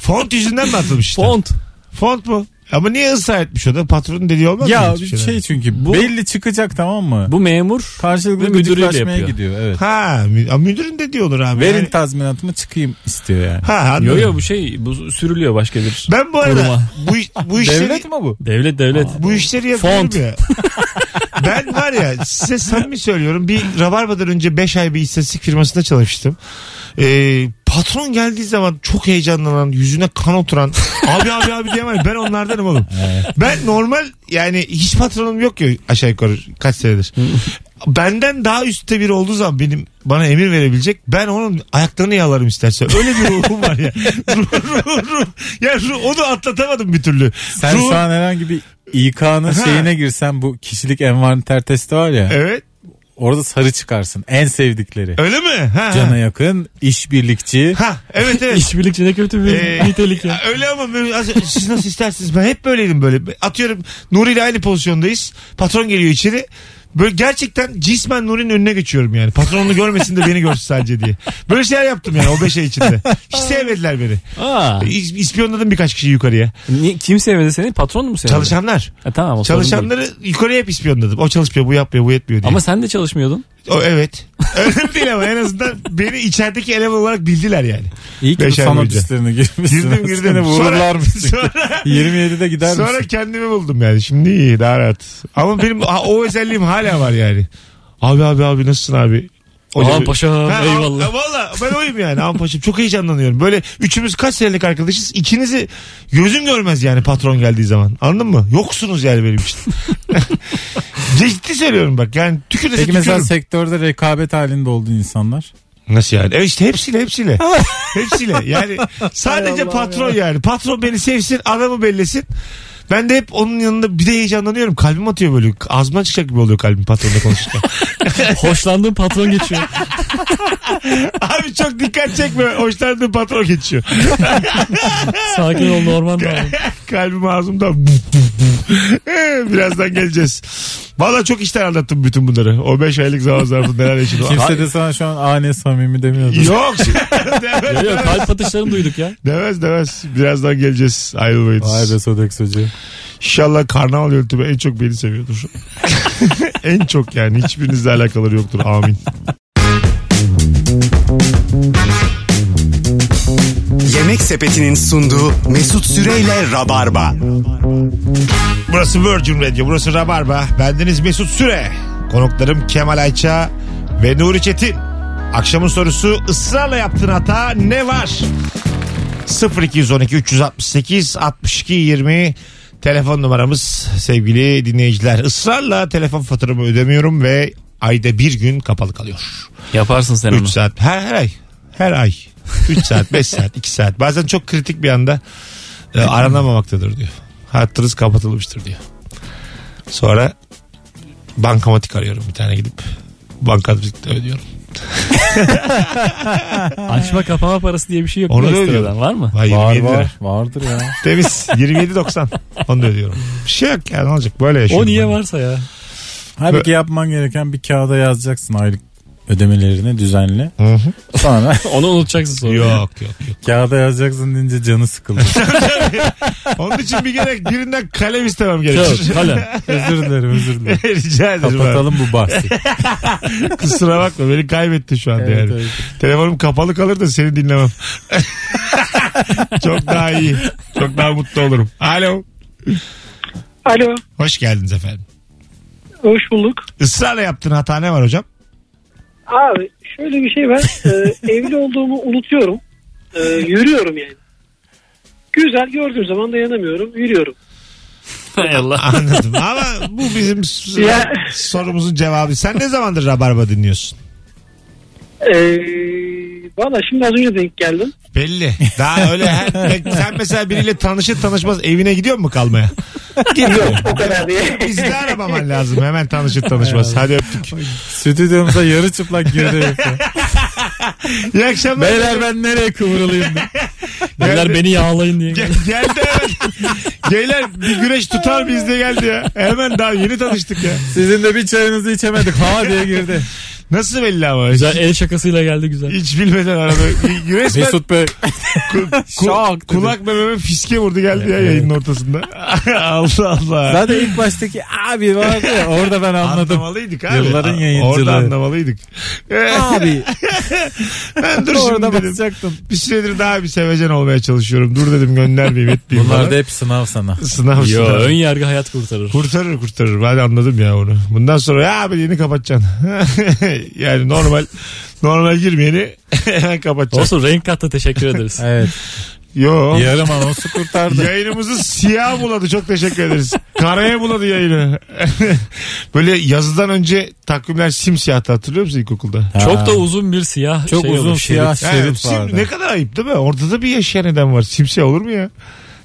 [SPEAKER 2] Font yüzünden mi atılmış işte?
[SPEAKER 3] Font.
[SPEAKER 2] Font mu? Ama niye ısrar etmiş o da? Patronun dediği olmaz mı?
[SPEAKER 4] ya
[SPEAKER 2] hiçbir
[SPEAKER 4] bir
[SPEAKER 2] şeyden?
[SPEAKER 4] şey çünkü
[SPEAKER 3] Bu-
[SPEAKER 4] belli çıkacak tamam mı?
[SPEAKER 3] Bu memur
[SPEAKER 4] Karşılıklı
[SPEAKER 3] Ve müdürüyle
[SPEAKER 4] gıcıklaşmaya
[SPEAKER 3] yapıyor.
[SPEAKER 4] gidiyor evet.
[SPEAKER 2] Ha, mü- a, müdürün dediği olur abi.
[SPEAKER 4] Verin
[SPEAKER 2] Yani-
[SPEAKER 4] tazminatımı çıkayım istiyor yani.
[SPEAKER 2] ha, anladım.
[SPEAKER 3] Yo yo bu şey bu sürülüyor başka bir.
[SPEAKER 2] Ben bu arada
[SPEAKER 3] Koruma.
[SPEAKER 2] bu, iş- bu işleri
[SPEAKER 4] Devlet mi bu?
[SPEAKER 3] Devlet devlet.
[SPEAKER 2] bu işleri yapıyorum
[SPEAKER 3] Font.
[SPEAKER 2] ya. ben var ya size samimi söylüyorum. Bir Rabarba'dan önce 5 ay bir istatistik firmasında çalıştım. Ee, patron geldiği zaman çok heyecanlanan, yüzüne kan oturan abi abi abi diyemem. Ben onlardanım oğlum. Ben normal yani hiç patronum yok ya aşağı yukarı kaç senedir. Benden daha üstte biri olduğu zaman benim bana emir verebilecek. Ben onun ayaklarını yalarım isterse. Öyle bir ruhum var ya. Ruh, ruh, ruh. Ya ruh, onu atlatamadım bir türlü.
[SPEAKER 4] Sen
[SPEAKER 2] Ruh-
[SPEAKER 4] şu an herhangi bir İK'nın
[SPEAKER 2] Ha.
[SPEAKER 4] şeyine girsen bu kişilik envanter testi var ya.
[SPEAKER 2] Evet.
[SPEAKER 4] Orada sarı çıkarsın. En sevdikleri.
[SPEAKER 2] Öyle mi? Ha. ha.
[SPEAKER 4] Cana yakın, işbirlikçi.
[SPEAKER 2] Ha evet evet.
[SPEAKER 3] İşbirlikçi ne kötü bir
[SPEAKER 2] Ee,
[SPEAKER 3] nitelik ya.
[SPEAKER 2] Öyle ama böyle- az- siz nasıl istersiniz ben hep böyleydim böyle. Atıyorum Nuri ile aynı pozisyondayız. Patron geliyor içeri. Böyle gerçekten cismen Nuri'nin önüne geçiyorum yani. Patron onu görmesin de beni görsün sadece diye. Böyle şeyler yaptım yani o beş ay içinde. Hiç sevmediler beni.
[SPEAKER 3] Aa,
[SPEAKER 2] İs- İspiyonladım birkaç kişi yukarıya.
[SPEAKER 3] ni- kim sevmedi seni? Patron mu sevmedi?
[SPEAKER 2] Çalışanlar.
[SPEAKER 3] Ha, tamam o sorun değil.
[SPEAKER 2] Çalışanları yukarıya hep ispiyonladım. O çalışmıyor, bu yapmıyor, bu yetmiyor diye.
[SPEAKER 3] Ama sen de çalışmıyordun.
[SPEAKER 2] O, evet. Önemli değil ama en azından beni içerideki eleman olarak bildiler yani.
[SPEAKER 4] İyi ki bu
[SPEAKER 2] Beş ay
[SPEAKER 4] sanat
[SPEAKER 2] boyunca.
[SPEAKER 4] işlerine girmişsin.
[SPEAKER 2] Girdim girdim.
[SPEAKER 4] Seni vururlar mı?
[SPEAKER 2] Sonra,
[SPEAKER 4] 27'de gider
[SPEAKER 2] Sonra
[SPEAKER 4] misin?
[SPEAKER 2] kendimi buldum yani. Şimdi iyi daha rahat. Ama benim ha- o özelliğim hala var yani. Abi abi abi nasılsın abi? Hocam-
[SPEAKER 3] Aman paşam,
[SPEAKER 2] Ha,
[SPEAKER 3] eyvallah.
[SPEAKER 2] ha, Valla ben oyum yani Aman paşam çok heyecanlanıyorum. Böyle üçümüz kaç senelik arkadaşız ikinizi gözüm görmez yani patron geldiği zaman. Anladın mı? Yoksunuz yani benim için. Ciddi söylüyorum bak yani tükürse
[SPEAKER 4] Peki
[SPEAKER 2] tükürürüm.
[SPEAKER 4] mesela sektörde rekabet halinde olduğu insanlar.
[SPEAKER 2] Nasıl yani? E işte hepsiyle hepsiyle. hepsiyle. Yani sadece patron yani. Patron beni sevsin, adamı bellesin. Ben de hep onun yanında bir de heyecanlanıyorum. Kalbim atıyor böyle. Ağzımdan çıkacak gibi oluyor kalbim patronla konuşurken.
[SPEAKER 3] Hoşlandığın patron geçiyor.
[SPEAKER 2] Abi çok dikkat çekme. Hoşlandığım patron geçiyor.
[SPEAKER 3] Sakin ol normal davran.
[SPEAKER 2] kalbim ağzımda. Ee, Birazdan geleceğiz. Valla çok işten anlattım bütün bunları. O 5 aylık zaman zarfında neler yaşadım.
[SPEAKER 4] Kimse de sana şu an ane samimi demiyordu.
[SPEAKER 2] Yok.
[SPEAKER 3] Yok,
[SPEAKER 2] demez,
[SPEAKER 3] yok, kalp atışlarını duyduk ya.
[SPEAKER 2] demez demez. Birazdan geleceğiz. Ayrılmayınız.
[SPEAKER 4] Vay be Sodeks Hoca.
[SPEAKER 2] İnşallah karnaval yöntemi en çok beni seviyordur. en çok yani. Hiçbirinizle alakaları yoktur. Amin.
[SPEAKER 1] Yemek Sepeti'nin sunduğu Mesut Süreyle Rabarba.
[SPEAKER 2] Burası Virgin Radio. Burası Rabarba. Bendeniz Mesut Süre. Konuklarım Kemal Ayça ve Nuri Çetin. Akşamın sorusu ısrarla yaptığın hata ne var? 0212 368 62 20 telefon numaramız sevgili dinleyiciler. Israrla telefon faturamı ödemiyorum ve ayda bir gün kapalı kalıyor.
[SPEAKER 3] Yaparsın sen onu.
[SPEAKER 2] 3 saat. Her, her ay. Her ay. 3 saat, 5 saat, 2 saat. Bazen çok kritik bir anda e, aranamamaktadır diyor. Hattınız kapatılmıştır diyor. Sonra bankamatik arıyorum bir tane gidip. Bankamatikte ödüyorum.
[SPEAKER 3] Açma kapama parası diye bir şey yok.
[SPEAKER 2] Onu da
[SPEAKER 3] mu ekstradan?
[SPEAKER 2] ödüyorum.
[SPEAKER 3] Var mı?
[SPEAKER 2] Vay,
[SPEAKER 4] Var
[SPEAKER 2] 27 lira.
[SPEAKER 4] var. Vardır ya.
[SPEAKER 2] Temiz. 27.90. Onu da ödüyorum. Bir şey yok yani ne olacak böyle yaşıyorum.
[SPEAKER 3] O niye
[SPEAKER 2] ben.
[SPEAKER 3] varsa ya.
[SPEAKER 4] Halbuki yapman gereken bir kağıda yazacaksın aylık ödemelerini düzenle.
[SPEAKER 2] Hı hı.
[SPEAKER 4] Sonra
[SPEAKER 3] Onu unutacaksın sonra.
[SPEAKER 2] Yok yok yok.
[SPEAKER 4] kağıda yazacaksın deyince canı sıkıldı.
[SPEAKER 2] Onun için bir gerek birinden kalem istemem gerekir.
[SPEAKER 3] Yok, hala.
[SPEAKER 4] özür dilerim özür dilerim.
[SPEAKER 2] Rica ederim. abi.
[SPEAKER 4] Kapatalım bu bahsi.
[SPEAKER 2] Kusura bakma beni kaybetti şu anda
[SPEAKER 4] Evet,
[SPEAKER 2] yani.
[SPEAKER 4] evet.
[SPEAKER 2] Telefonum kapalı kalır da seni dinlemem. Çok daha iyi. Çok daha mutlu olurum. Alo.
[SPEAKER 7] Alo,
[SPEAKER 2] Hoş geldiniz efendim.
[SPEAKER 7] hoş bulduk.
[SPEAKER 2] Israrla yaptığın hata ne var hocam?
[SPEAKER 7] Abi şöyle bir şey ben e, evli olduğumu unutuyorum. E, yürüyorum yani. Güzel gördüğüm zaman dayanamıyorum. Yürüyorum.
[SPEAKER 3] Hay Allah.
[SPEAKER 2] Anladım ama bu bizim s-
[SPEAKER 7] Ya.
[SPEAKER 2] sorumuzun cevabı. Sen ne zamandır Rabarba dinliyorsun?
[SPEAKER 7] E, Valla şimdi az önce denk geldim.
[SPEAKER 2] Belli. Daha öyle her, sen mesela biriyle tanışır tanışmaz evine gidiyor mu kalmaya? Gidiyor.
[SPEAKER 7] O kadar değil.
[SPEAKER 2] Bizi de aramaman lazım hemen tanışır tanışmaz. Hadi öptük.
[SPEAKER 4] Stüdyomuza yarı çıplak girdi.
[SPEAKER 2] İyi akşamlar.
[SPEAKER 4] Beyler ben nereye kıvrılayım?
[SPEAKER 3] Beyler beni yağlayın diye.
[SPEAKER 2] Gel- geldi hemen. Geyler bir güreş tutar biz de geldi ya. Hemen daha yeni tanıştık ya.
[SPEAKER 4] Sizin de bir çayınızı içemedik. Ha diye girdi.
[SPEAKER 2] Nasıl belli ama.
[SPEAKER 3] Güzel el şakasıyla geldi güzel.
[SPEAKER 2] Hiç bilmeden arada. Resmen
[SPEAKER 4] Mesut Bey.
[SPEAKER 2] ku- ku-
[SPEAKER 4] Şok dedi.
[SPEAKER 2] kulak mememe fiske vurdu geldi ya yayının ortasında. Allah Allah.
[SPEAKER 4] Zaten ilk baştaki abi vardı ya orada ben anladım.
[SPEAKER 2] Anlamalıydık abi.
[SPEAKER 4] Yılların
[SPEAKER 2] A-
[SPEAKER 4] yayıncılığı.
[SPEAKER 2] Orada anlamalıydık.
[SPEAKER 4] abi
[SPEAKER 2] ben dur şimdi
[SPEAKER 4] orada
[SPEAKER 2] dedim.
[SPEAKER 4] bakacaktım.
[SPEAKER 2] Bir süredir daha bir sevecen olmaya çalışıyorum. Dur dedim göndermeyeyim etmeyeyim.
[SPEAKER 4] Bunlar
[SPEAKER 2] falan.
[SPEAKER 4] da hep sınav sana.
[SPEAKER 2] sınav
[SPEAKER 3] Yo
[SPEAKER 2] sınav.
[SPEAKER 3] ön yargı hayat kurtarır.
[SPEAKER 2] Kurtarır kurtarır. Ben anladım ya onu. Bundan sonra ya abi yeni kapatacaksın. yani normal normal girmeyeni hemen kapatacaksın.
[SPEAKER 3] Olsun renk kattı teşekkür ederiz.
[SPEAKER 4] Evet.
[SPEAKER 2] Yo.
[SPEAKER 4] Yarım anonsu kurtardı.
[SPEAKER 2] Yayınımızı siyah buladı. Çok teşekkür ederiz. Karaya buladı yayını. Böyle yazıdan önce takvimler simsiyahtı hatırlıyor musun ilkokulda?
[SPEAKER 4] Ha.
[SPEAKER 3] Çok da uzun bir siyah
[SPEAKER 4] çok
[SPEAKER 3] şey
[SPEAKER 4] uzun
[SPEAKER 3] olur.
[SPEAKER 4] siyah
[SPEAKER 2] Yani
[SPEAKER 4] şerit
[SPEAKER 2] sim-
[SPEAKER 4] vardı.
[SPEAKER 2] ne kadar ayıp değil mi? Ortada bir yaşayan neden var. Simsiyah olur mu ya?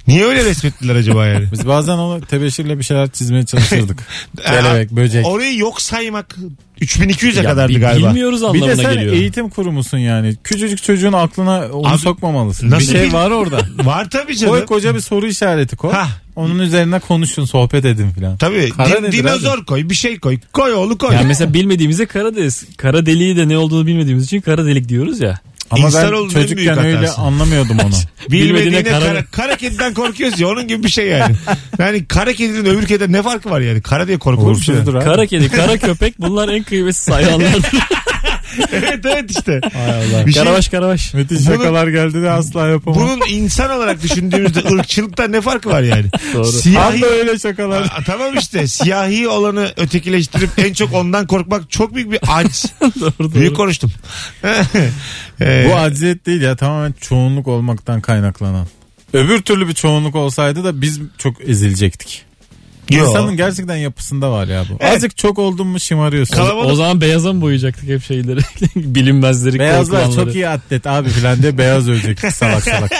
[SPEAKER 2] Niye öyle resmettiler acaba yani?
[SPEAKER 4] Biz bazen onu tebeşirle bir şeyler çizmeye çalışırdık. Kelebek, böcek.
[SPEAKER 2] Orayı yok saymak 3200'e
[SPEAKER 3] Ya
[SPEAKER 2] kadardı
[SPEAKER 3] bi-
[SPEAKER 2] galiba.
[SPEAKER 3] Bilmiyoruz
[SPEAKER 4] şey Bir de
[SPEAKER 3] anlamına
[SPEAKER 4] sen
[SPEAKER 3] geliyor.
[SPEAKER 4] eğitim kurumusun yani. Küçücük çocuğun aklına onu
[SPEAKER 2] Abi,
[SPEAKER 4] sokmamalısın.
[SPEAKER 2] nasıl
[SPEAKER 4] bir şey
[SPEAKER 2] bir-
[SPEAKER 4] var orada.
[SPEAKER 2] Var tabii canım.
[SPEAKER 4] koy koca bir soru işareti koy.
[SPEAKER 2] Hah.
[SPEAKER 4] Onun üzerine konuşun, sohbet edin filan.
[SPEAKER 2] Tabii.
[SPEAKER 4] Kara
[SPEAKER 2] Din-
[SPEAKER 4] nedir
[SPEAKER 2] dinozor koy, bir şey koy. Koy oğlu koy.
[SPEAKER 3] Yani mesela bilmediğimize kara deliz. Kara deliği de ne olduğunu bilmediğimiz için kara delik diyoruz ya.
[SPEAKER 4] Ama ben
[SPEAKER 2] İnsanoğlunun en büyük
[SPEAKER 4] çocukken öyle
[SPEAKER 2] hatası.
[SPEAKER 4] anlamıyordum onu.
[SPEAKER 2] Bilmediğine
[SPEAKER 3] bilmediğine
[SPEAKER 2] kara...
[SPEAKER 3] kara-
[SPEAKER 2] kara kediden korkuyoruz ya onun gibi bir şey yani. Yani kara kedinin öbür kediden ne farkı var yani? Kara diye korkulur mu?
[SPEAKER 4] Uğursuzdur abi.
[SPEAKER 3] Kara kedi, kara köpek bunlar en kıymetsiz hayvanlardır.
[SPEAKER 2] evet evet işte.
[SPEAKER 4] Hay Allah.
[SPEAKER 2] Bir şey,
[SPEAKER 3] Karabaş karabaş.
[SPEAKER 4] Müthiş
[SPEAKER 2] Bunun-
[SPEAKER 4] şakalar geldi de asla yapamam.
[SPEAKER 2] bunun insan olarak düşündüğümüzde ırkçılıktan ne farkı var yani?
[SPEAKER 3] Doğru.
[SPEAKER 4] Tam
[SPEAKER 2] Siyahi,
[SPEAKER 4] da öyle şakalar.
[SPEAKER 2] Aa, tamam işte siyahi olanı ötekileştirip en çok ondan korkmak çok büyük bir aç.
[SPEAKER 3] Doğru,
[SPEAKER 2] büyük
[SPEAKER 3] doğru.
[SPEAKER 2] konuştum. Ee,
[SPEAKER 4] Bu acziyet değil ya tamamen çoğunluk olmaktan kaynaklanan. Öbür türlü bir çoğunluk olsaydı da biz çok ezilecektik.
[SPEAKER 2] yo.
[SPEAKER 4] İnsanın gerçekten yapısında var ya bu.
[SPEAKER 2] Evet.
[SPEAKER 4] Azıcık çok oldun mu şımarıyorsun.
[SPEAKER 2] Kalabalık-
[SPEAKER 3] O zaman beyaza mı boyayacaktık hep şeyleri? Bilinmezleri,
[SPEAKER 4] Beyazlar
[SPEAKER 3] korkulanları.
[SPEAKER 4] çok iyi atlet abi filan diye beyaz ölecektik salak salak.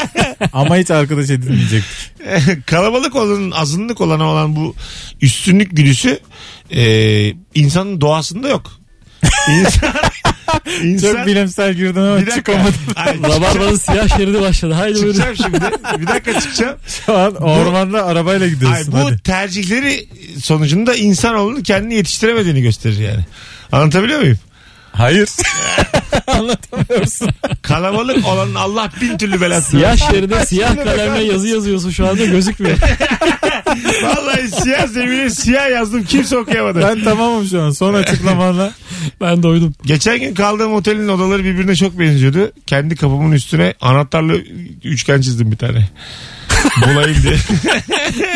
[SPEAKER 4] Ama hiç arkadaş edilmeyecektik.
[SPEAKER 2] kalabalık olanın azınlık olana olan bu üstünlük güdüsü e, insanın doğasında yok. İnsan,
[SPEAKER 4] Çok
[SPEAKER 2] insan
[SPEAKER 4] bilimsel girdin ama
[SPEAKER 2] dakika.
[SPEAKER 4] çıkamadım.
[SPEAKER 2] Ay,
[SPEAKER 3] Rabarbanın siyah şeridi başladı. Haydi buyurun.
[SPEAKER 2] çıkacağım şimdi. Bir dakika çıkacağım.
[SPEAKER 4] Şu an ormanda arabayla
[SPEAKER 2] Ay,
[SPEAKER 4] gidiyorsun
[SPEAKER 2] bu
[SPEAKER 4] hadi.
[SPEAKER 2] tercihleri sonucunda insanoğlunun kendini yetiştiremediğini gösterir yani. Anlatabiliyor muyum?
[SPEAKER 4] Hayır. Anlatamıyorsun.
[SPEAKER 2] Kalabalık olanın Allah bin türlü belasını.
[SPEAKER 3] Siyah şeride siyah kalemle yazı yazıyorsun şu anda gözükmüyor.
[SPEAKER 2] Vallahi siyah zemine siyah yazdım. Kimse okuyamadı.
[SPEAKER 4] Ben tamamım şu an. Son açıklamanla.
[SPEAKER 3] Ben doydum.
[SPEAKER 2] Geçen gün kaldığım otelin odaları birbirine çok benziyordu. Kendi kapımın üstüne anahtarlı üçgen çizdim bir tane. Bulayım diye.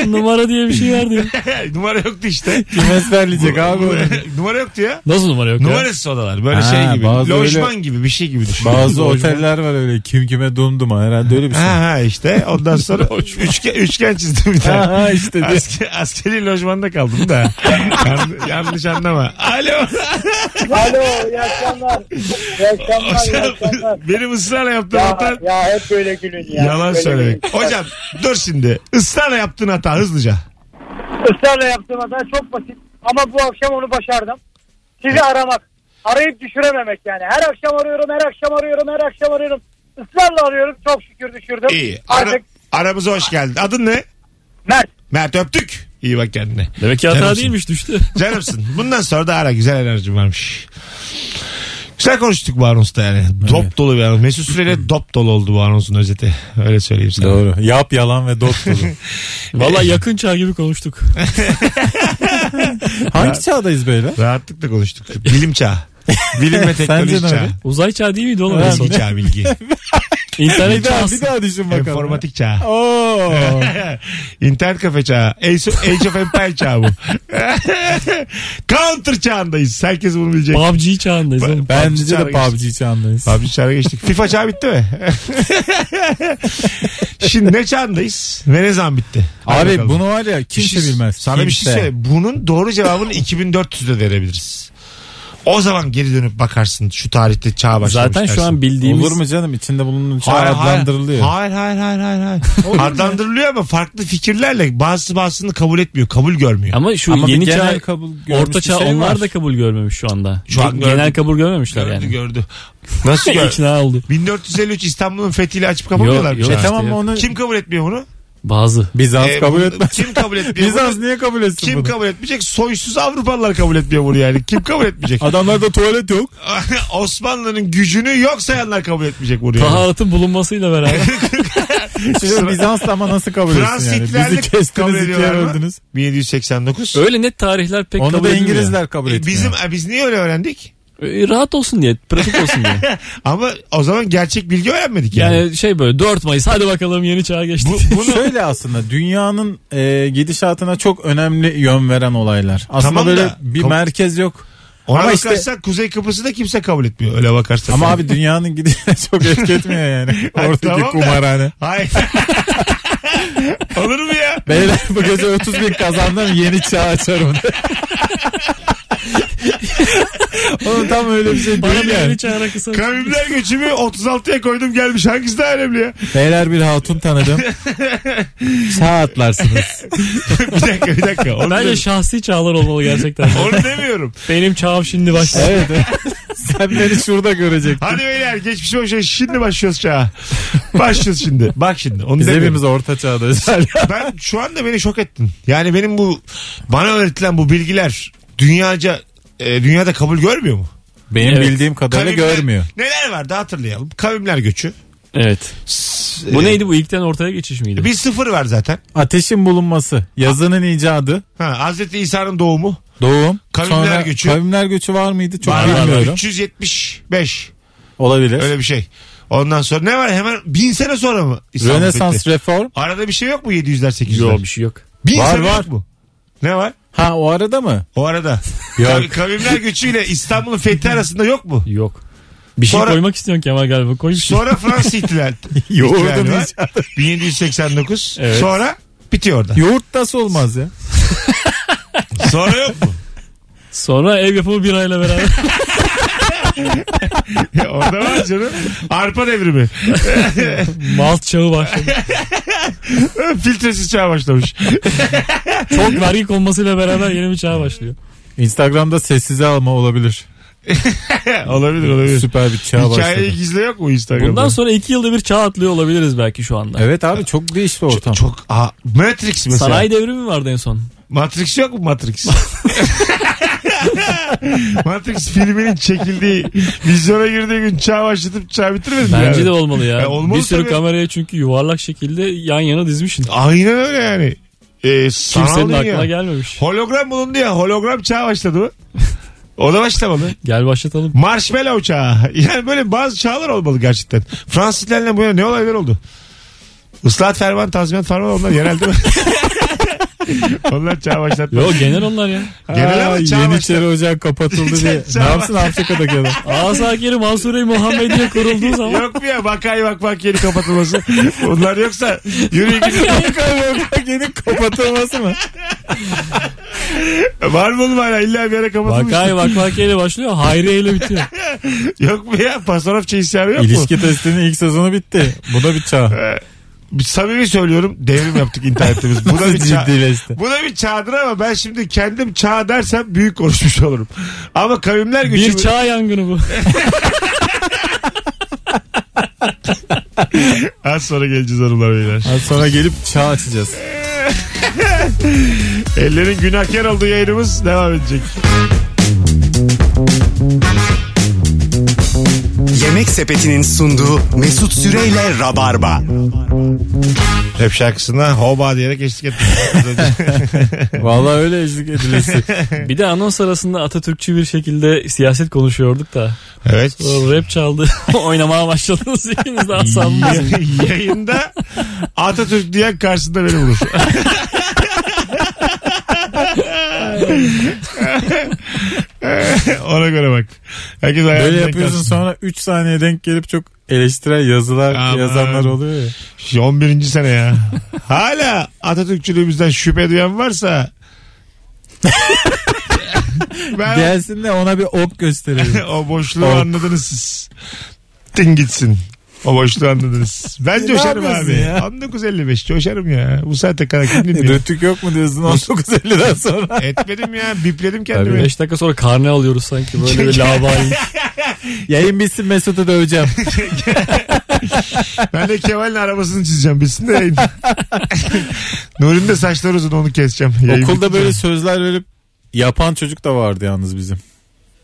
[SPEAKER 3] Numara diye bir şey vardı ya.
[SPEAKER 2] numara yoktu işte.
[SPEAKER 4] Kim ezberleyecek abi onu?
[SPEAKER 2] numara yoktu ya.
[SPEAKER 3] Nasıl numara yok ya?
[SPEAKER 2] Numarasız odalar. Böyle
[SPEAKER 4] Ha,
[SPEAKER 2] şey gibi.
[SPEAKER 4] bazı
[SPEAKER 2] Lojman
[SPEAKER 4] öyle-
[SPEAKER 2] gibi bir şey gibi düşün.
[SPEAKER 4] Bazı
[SPEAKER 2] Lojman.
[SPEAKER 4] oteller var öyle kim kime dum duma herhalde öyle bir şey.
[SPEAKER 2] Ha ha işte ondan sonra üçgen, üçgen çizdim bir
[SPEAKER 4] Ha,
[SPEAKER 2] tane.
[SPEAKER 4] ha işte diye.
[SPEAKER 2] Asker, askeri lojmanda kaldım da. Yan- yanlış anlama. Alo.
[SPEAKER 7] Alo, iyi akşamlar. İyi akşamlar,
[SPEAKER 2] Benim ısrarla yaptığım hata
[SPEAKER 7] ya hep böyle gülün
[SPEAKER 2] yalan söylemek. Hocam dur şimdi. Israrla yaptığın hata hızlıca.
[SPEAKER 7] Israrla yaptığım hata çok basit ama bu akşam onu başardım. Sizi aramak. Arayıp düşürememek yani. Her akşam arıyorum, her akşam arıyorum, her akşam arıyorum. Israrla arıyorum. Çok şükür düşürdüm.
[SPEAKER 2] İyi. Ara-
[SPEAKER 7] Artık
[SPEAKER 2] aramıza hoş geldin. Adın ne?
[SPEAKER 7] Mert.
[SPEAKER 2] Mert öptük. İyi bak kendine.
[SPEAKER 4] şey.
[SPEAKER 3] Demek ki hata
[SPEAKER 2] Canımsın.
[SPEAKER 3] değilmiş düştü.
[SPEAKER 2] Canımsın. Bundan sonra da ara güzel enerjim varmış. Güzel konuştuk bu anonsta yani. Dop dolu bir anons. Mesut Süreyle dop dolu oldu bu anonsun özeti. Öyle söyleyeyim sana.
[SPEAKER 4] Doğru. Yap yalan ve dop dolu.
[SPEAKER 3] Valla yakın çağ gibi konuştuk.
[SPEAKER 4] Hangi çağdayız beyler?
[SPEAKER 2] Rahatlıkla konuştuk. Bilim çağı. Bilim ve teknoloji
[SPEAKER 4] Sence ne
[SPEAKER 2] çağı.
[SPEAKER 4] öyle?
[SPEAKER 3] Uzay çağı değil miydi oğlum? en son?
[SPEAKER 2] Bilgi çağı bilgi.
[SPEAKER 3] İnternet
[SPEAKER 4] Bir daha,
[SPEAKER 3] çağı.
[SPEAKER 4] bir daha düşün bakalım.
[SPEAKER 2] Enformatik çağı.
[SPEAKER 4] Oo.
[SPEAKER 2] İnternet kafe çağı. Ace of, Age of Empire çağı bu. Counter çağındayız. Herkes bunu bilecek.
[SPEAKER 3] PUBG çağındayız oğlum.
[SPEAKER 4] Bence
[SPEAKER 2] çağına
[SPEAKER 4] de PUBG çağındayız.
[SPEAKER 2] PUBG çağına geçtik. FIFA çağı bitti mi? Şimdi ne çağındayız ve ne zaman bitti? Hadi
[SPEAKER 4] Abi
[SPEAKER 2] bakalım.
[SPEAKER 4] bunu var ya
[SPEAKER 2] Bir
[SPEAKER 4] kimse
[SPEAKER 2] şey-
[SPEAKER 4] bilmez.
[SPEAKER 2] Sana bir şey
[SPEAKER 4] Kimse.
[SPEAKER 2] söyle. Bunun doğru cevabını 2400'de verebiliriz. O zaman geri dönüp bakarsın şu tarihte çağ başlamış
[SPEAKER 3] Zaten şu
[SPEAKER 2] dersin.
[SPEAKER 3] an bildiğimiz
[SPEAKER 4] Olur mu canım? İçinde bulunduğun çağ adlandırılıyor.
[SPEAKER 2] Hayır hayır hayır hayır. hayır. adlandırılıyor ama farklı fikirlerle bazısı bazısını kabul etmiyor. Kabul görmüyor.
[SPEAKER 3] ama şu
[SPEAKER 4] Ama bir
[SPEAKER 3] yeni
[SPEAKER 4] genel
[SPEAKER 3] çağ,
[SPEAKER 4] kabul görmüş
[SPEAKER 3] orta
[SPEAKER 4] bir
[SPEAKER 3] çağ
[SPEAKER 4] şey
[SPEAKER 3] onlar
[SPEAKER 4] var.
[SPEAKER 3] da kabul görmemiş şu anda.
[SPEAKER 2] Şu an
[SPEAKER 3] Ge-
[SPEAKER 2] gördüm.
[SPEAKER 3] genel kabul görmemişler
[SPEAKER 2] gördü
[SPEAKER 3] yani.
[SPEAKER 2] gördü. Nasıl gördü?
[SPEAKER 3] İkna oldu.
[SPEAKER 2] 1453 İstanbul'un fethiyle açıp kapamıyorlar
[SPEAKER 3] Yok,
[SPEAKER 2] mı
[SPEAKER 3] yok.
[SPEAKER 4] E
[SPEAKER 2] çağı?
[SPEAKER 3] İşte
[SPEAKER 4] tamam
[SPEAKER 3] yok.
[SPEAKER 4] onu
[SPEAKER 2] Kim kabul etmiyor bunu?
[SPEAKER 3] Bazı.
[SPEAKER 4] Bizans
[SPEAKER 2] Ee,
[SPEAKER 4] kabul
[SPEAKER 2] bunu-
[SPEAKER 4] etmez.
[SPEAKER 2] Kim kabul etmiyor bunu?
[SPEAKER 4] Bizans niye kabul etsin
[SPEAKER 2] Kim
[SPEAKER 4] bunu?
[SPEAKER 2] kabul etmeyecek? Soysuz Avrupalılar kabul etmiyor bunu yani. Kim kabul etmeyecek?
[SPEAKER 4] Adamlarda tuvalet yok.
[SPEAKER 2] Osmanlı'nın gücünü yok sayanlar kabul etmeyecek bunu yani.
[SPEAKER 3] Taharatın bulunmasıyla beraber.
[SPEAKER 4] Siz Bizans'ta ama nasıl kabul
[SPEAKER 2] Fransız
[SPEAKER 4] etsin yani?
[SPEAKER 2] ihtilali
[SPEAKER 4] Bizi
[SPEAKER 2] kabul
[SPEAKER 4] kestiniz ikiye
[SPEAKER 2] ediyorlar mı?
[SPEAKER 4] böldünüz.
[SPEAKER 2] 1789.
[SPEAKER 3] Öyle net tarihler pek
[SPEAKER 4] Onu
[SPEAKER 3] kabul
[SPEAKER 4] da
[SPEAKER 3] edilmiyor.
[SPEAKER 4] İngilizler kabul
[SPEAKER 2] E,
[SPEAKER 4] etmiyor.
[SPEAKER 2] bizim e, biz niye öyle öğrendik?
[SPEAKER 3] Ee, Rahat olsun diye, pratik olsun diye.
[SPEAKER 2] Ama o zaman gerçek bilgi öğrenmedik yani.
[SPEAKER 3] Yani şey böyle 4 Mayıs hadi bakalım yeni çağa geçtik.
[SPEAKER 4] Bu, bunu... Şöyle aslında dünyanın e, gidişatına çok önemli yön veren olaylar. Aslında
[SPEAKER 2] Tamam
[SPEAKER 4] böyle
[SPEAKER 2] da-
[SPEAKER 4] bir
[SPEAKER 2] Kab-
[SPEAKER 4] merkez yok.
[SPEAKER 2] Ona
[SPEAKER 4] Ama işte-
[SPEAKER 2] bakarsan Kuzey Kıbrıs'ı da kimse kabul etmiyor öyle bakarsan.
[SPEAKER 4] Ama abi dünyanın gidişine çok etki etmiyor yani.
[SPEAKER 2] Ha,
[SPEAKER 4] Oradaki
[SPEAKER 2] tamam da-
[SPEAKER 4] kumarhane.
[SPEAKER 2] Hayır. Olur mu ya?
[SPEAKER 4] Beyler bu gece 30 bin kazandım yeni çağ açarım. Oğlum tam öyle bir şey
[SPEAKER 3] Bana
[SPEAKER 4] değil
[SPEAKER 3] bir
[SPEAKER 4] yani.
[SPEAKER 3] yeni çağına kısa.
[SPEAKER 2] Kavimler göçümü 36'ya koydum gelmiş. Hangisi daha önemli ya?
[SPEAKER 4] Beyler bir hatun tanıdım. Çağ atlarsınız.
[SPEAKER 2] bir dakika bir dakika. Onu,
[SPEAKER 3] Bence
[SPEAKER 2] demiyorum.
[SPEAKER 3] şahsi çağlar olmalı gerçekten.
[SPEAKER 2] Onu demiyorum.
[SPEAKER 3] Benim çağım şimdi başladı.
[SPEAKER 4] Evet. Sen beni şurada görecektin.
[SPEAKER 2] Hadi beyler geçmiş olsun. Şimdi başlıyoruz çağa. Başlıyoruz şimdi. Bak şimdi. Onu
[SPEAKER 4] Biz
[SPEAKER 2] demiyorum.
[SPEAKER 4] hepimiz orta çağdayız.
[SPEAKER 2] ben şu anda beni şok ettin. Yani benim bu bana öğretilen bu bilgiler dünyaca e, dünyada kabul görmüyor mu?
[SPEAKER 4] Benim
[SPEAKER 3] Evet.
[SPEAKER 4] bildiğim kadarıyla
[SPEAKER 2] Kavimler-
[SPEAKER 4] görmüyor.
[SPEAKER 2] Neler vardı hatırlayalım. Kavimler göçü. E,
[SPEAKER 3] Evet.
[SPEAKER 4] Ee,
[SPEAKER 3] Bu neydi bu ilkten ortaya geçiş miydi?
[SPEAKER 2] Bir sıfır var zaten.
[SPEAKER 4] Ateşin bulunması, yazının icadı,
[SPEAKER 2] Ha, Hazreti İsa'nın doğumu.
[SPEAKER 4] doğum.
[SPEAKER 2] Kavimler
[SPEAKER 4] sonra,
[SPEAKER 2] göçü.
[SPEAKER 4] Kavimler göçü var mıydı? Çok
[SPEAKER 2] Var, var, var.
[SPEAKER 4] bilmiyorum.
[SPEAKER 2] 375.
[SPEAKER 4] Olabilir.
[SPEAKER 2] Öyle bir şey. Ondan sonra ne var hemen bin sene sonra mı? İstanbul
[SPEAKER 4] Rönesans
[SPEAKER 2] fethi?
[SPEAKER 4] reform.
[SPEAKER 2] Arada bir şey yok mu 700'ler 800'ler?
[SPEAKER 3] Yok bir şey yok.
[SPEAKER 2] Bin
[SPEAKER 4] Var,
[SPEAKER 2] sene
[SPEAKER 4] var.
[SPEAKER 2] yok mu? Ne var?
[SPEAKER 4] Ha o arada mı?
[SPEAKER 2] O arada.
[SPEAKER 4] Yok.
[SPEAKER 2] Kav- Kavimler göçüyle İstanbul'un fethi arasında yok mu?
[SPEAKER 3] Yok. Bir şey
[SPEAKER 2] Sonra-
[SPEAKER 3] koymak istiyorsun Kemal galiba. Koy bir şey.
[SPEAKER 2] Sonra Fransız ihtilal.
[SPEAKER 4] Yoğurdun
[SPEAKER 2] ihtilali var.
[SPEAKER 4] icadı.
[SPEAKER 2] 1789.
[SPEAKER 3] Evet.
[SPEAKER 2] Sonra bitiyor orada.
[SPEAKER 4] Yoğurt nasıl olmaz ya?
[SPEAKER 2] Sonra yok mu?
[SPEAKER 3] Sonra ev yapımı birayla beraber.
[SPEAKER 2] Ya orada var canım. Arpa devrimi.
[SPEAKER 3] Malt çağı başladı.
[SPEAKER 2] Filtresiz çağ başlamış.
[SPEAKER 3] Çok vergi konmasıyla beraber yeni bir çağ başlıyor.
[SPEAKER 4] Instagram'da sessize alma olabilir.
[SPEAKER 2] olabilir olabilir.
[SPEAKER 4] Süper bir çağ
[SPEAKER 2] Hikayeyi
[SPEAKER 4] başladı.
[SPEAKER 2] gizle yok mu Instagram'da?
[SPEAKER 3] Bundan sonra iki yılda bir çağ atlıyor olabiliriz belki şu anda.
[SPEAKER 4] Evet abi çok değişti ortam.
[SPEAKER 2] çok Aa, Matrix mesela.
[SPEAKER 3] Sanayi devrimi vardı en son.
[SPEAKER 2] Matrix yok mu Matrix? Matrix filminin çekildiği vizyona girdiği gün çağ başlatıp çağ bitirmedi mi?
[SPEAKER 3] Bence
[SPEAKER 2] yani?
[SPEAKER 3] de olmalı ya.
[SPEAKER 2] E, olmalı
[SPEAKER 3] bir sürü
[SPEAKER 2] tabii.
[SPEAKER 3] kameraya çünkü yuvarlak şekilde yan yana dizmişsin.
[SPEAKER 2] Aynen öyle yani. Ee, sanal
[SPEAKER 3] Kimsenin
[SPEAKER 2] dünya.
[SPEAKER 3] aklına gelmemiş.
[SPEAKER 2] Hologram bulundu ya. Hologram çağı başladı mı? O da başlamalı.
[SPEAKER 3] Gel başlatalım.
[SPEAKER 2] Marshmallow çağı. Yani böyle bazı çağlar olmalı gerçekten. Fransızlarla bu yana ne olaylar oldu? Islahat ferman, tazminat ferman onlar yerel değil mi? onlar çağ başlattı.
[SPEAKER 3] Yo genel onlar ya.
[SPEAKER 2] Genel ama çağ başlattı.
[SPEAKER 4] Yeniçeri Ocağı kapatıldı diye.
[SPEAKER 2] Çağ
[SPEAKER 4] ne yapsın Afrika'daki adam?
[SPEAKER 3] Asakiri Mansure Muhammediye kurulduğu zaman.
[SPEAKER 2] Yok mu ya bakay bak bak yeni kapatılması. Onlar yoksa yürüyün gidin.
[SPEAKER 4] Yeni kapatılması mı?
[SPEAKER 2] Var mı oğlum hala illa bir yere kapatılmış.
[SPEAKER 3] Vakay vakvakiyle başlıyor. Hayriye ile bitiyor.
[SPEAKER 2] Yok mu ya Pasarofça isyanı yok mu?
[SPEAKER 4] İlişki testinin ilk sezonu bitti. Bu da bir çağ.
[SPEAKER 2] Bir Samimi söylüyorum devrim yaptık internetimiz. Bu da bir çağ.
[SPEAKER 4] Ciddileşti.
[SPEAKER 2] Bu da bir çağdır ama ben şimdi kendim çağ dersem büyük konuşmuş olurum. Ama kavimler
[SPEAKER 3] Bir
[SPEAKER 2] göçü...
[SPEAKER 3] çağ yangını bu.
[SPEAKER 2] Az sonra geleceğiz hanımlar beyler.
[SPEAKER 4] Az sonra gelip çağ açacağız.
[SPEAKER 2] Ellerin günahkar olduğu yayınımız devam edecek.
[SPEAKER 1] Yemek Sepeti'nin sunduğu Mesut Süreyle Rabarba.
[SPEAKER 2] Rap şarkısına hoba diyerek eşlik ettim.
[SPEAKER 4] Vallahi öyle eşlik edilesi.
[SPEAKER 3] Bir de anons arasında Atatürkçü bir şekilde siyaset konuşuyorduk da.
[SPEAKER 2] evet.
[SPEAKER 3] Sonra rap çaldı. Oynamaya başladınız ikiniz de asabım.
[SPEAKER 2] Y- Yayında Atatürk diyen karşısında beni vurur. Ona göre bak. Herkes hayatında
[SPEAKER 4] Böyle yapıyorsun sonra 3 saniye denk gelip çok eleştiren yazılar
[SPEAKER 2] Aman.
[SPEAKER 4] yazanlar oluyor ya.
[SPEAKER 2] 11. sene ya. Hala Atatürkçülüğümüzden şüphe duyan varsa ben
[SPEAKER 4] Gelsin de ona bir ok gösterelim.
[SPEAKER 2] o boşluğu
[SPEAKER 4] Ok.
[SPEAKER 2] anladınız siz. Din gitsin. O boşluğu anladınız. Ben
[SPEAKER 4] Ne
[SPEAKER 2] coşarım
[SPEAKER 4] yapıyorsun
[SPEAKER 2] abi.
[SPEAKER 4] ya?
[SPEAKER 2] 19.55 coşarım ya. Bu saate kadar kim dinliyor?
[SPEAKER 4] Rütük yok mu diyorsun 19.50'den sonra?
[SPEAKER 2] Etmedim ya. Bipledim kendimi.
[SPEAKER 3] 5 dakika sonra karne alıyoruz sanki böyle bir labayı.
[SPEAKER 4] Yayın bitsin Mesut'u döveceğim.
[SPEAKER 2] Ben de Kemal'in arabasını çizeceğim. Bilsin de yayın. Nuri'nin de saçları uzun onu keseceğim. Yayın bitince.
[SPEAKER 4] Okulda böyle sözler verip yapan çocuk da vardı yalnız bizim.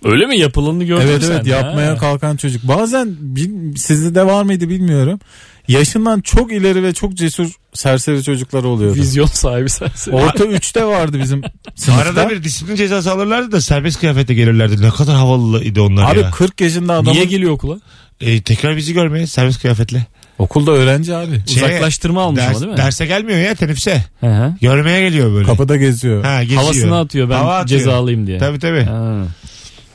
[SPEAKER 3] Öyle mi yapılanını gördün
[SPEAKER 4] Evet
[SPEAKER 3] sen?
[SPEAKER 4] evet
[SPEAKER 3] Ha.
[SPEAKER 4] yapmaya kalkan çocuk. Bazen bil- sizde de var mıydı bilmiyorum. Yaşından çok ileri ve çok cesur serseri çocuklar oluyordu.
[SPEAKER 3] Vizyon sahibi sensin.
[SPEAKER 4] Orta 3'te vardı bizim sınıfta.
[SPEAKER 2] Arada bir disiplin cezası alırlardı da serbest kıyafetle gelirlerdi. Ne kadar havalıydı onlar
[SPEAKER 4] Abi
[SPEAKER 2] ya.
[SPEAKER 4] 40 yaşında adamın
[SPEAKER 3] Niye geliyor okula?
[SPEAKER 2] E, tekrar bizi görmeye serbest kıyafetle.
[SPEAKER 4] okulda öğrenci abi.
[SPEAKER 2] Şey,
[SPEAKER 3] Uzaklaştırma almış
[SPEAKER 2] ders-
[SPEAKER 3] ama değil mi?
[SPEAKER 2] Derse gelmiyor ya teneffüse.
[SPEAKER 3] Hı hı.
[SPEAKER 2] Görmeye geliyor böyle.
[SPEAKER 4] Kapıda geziyor.
[SPEAKER 2] Ha, geziyor.
[SPEAKER 3] Havasını atıyor ben
[SPEAKER 2] Hava atıyor.
[SPEAKER 3] cezalıyım diye.
[SPEAKER 2] Tabii tabii.
[SPEAKER 3] Ha.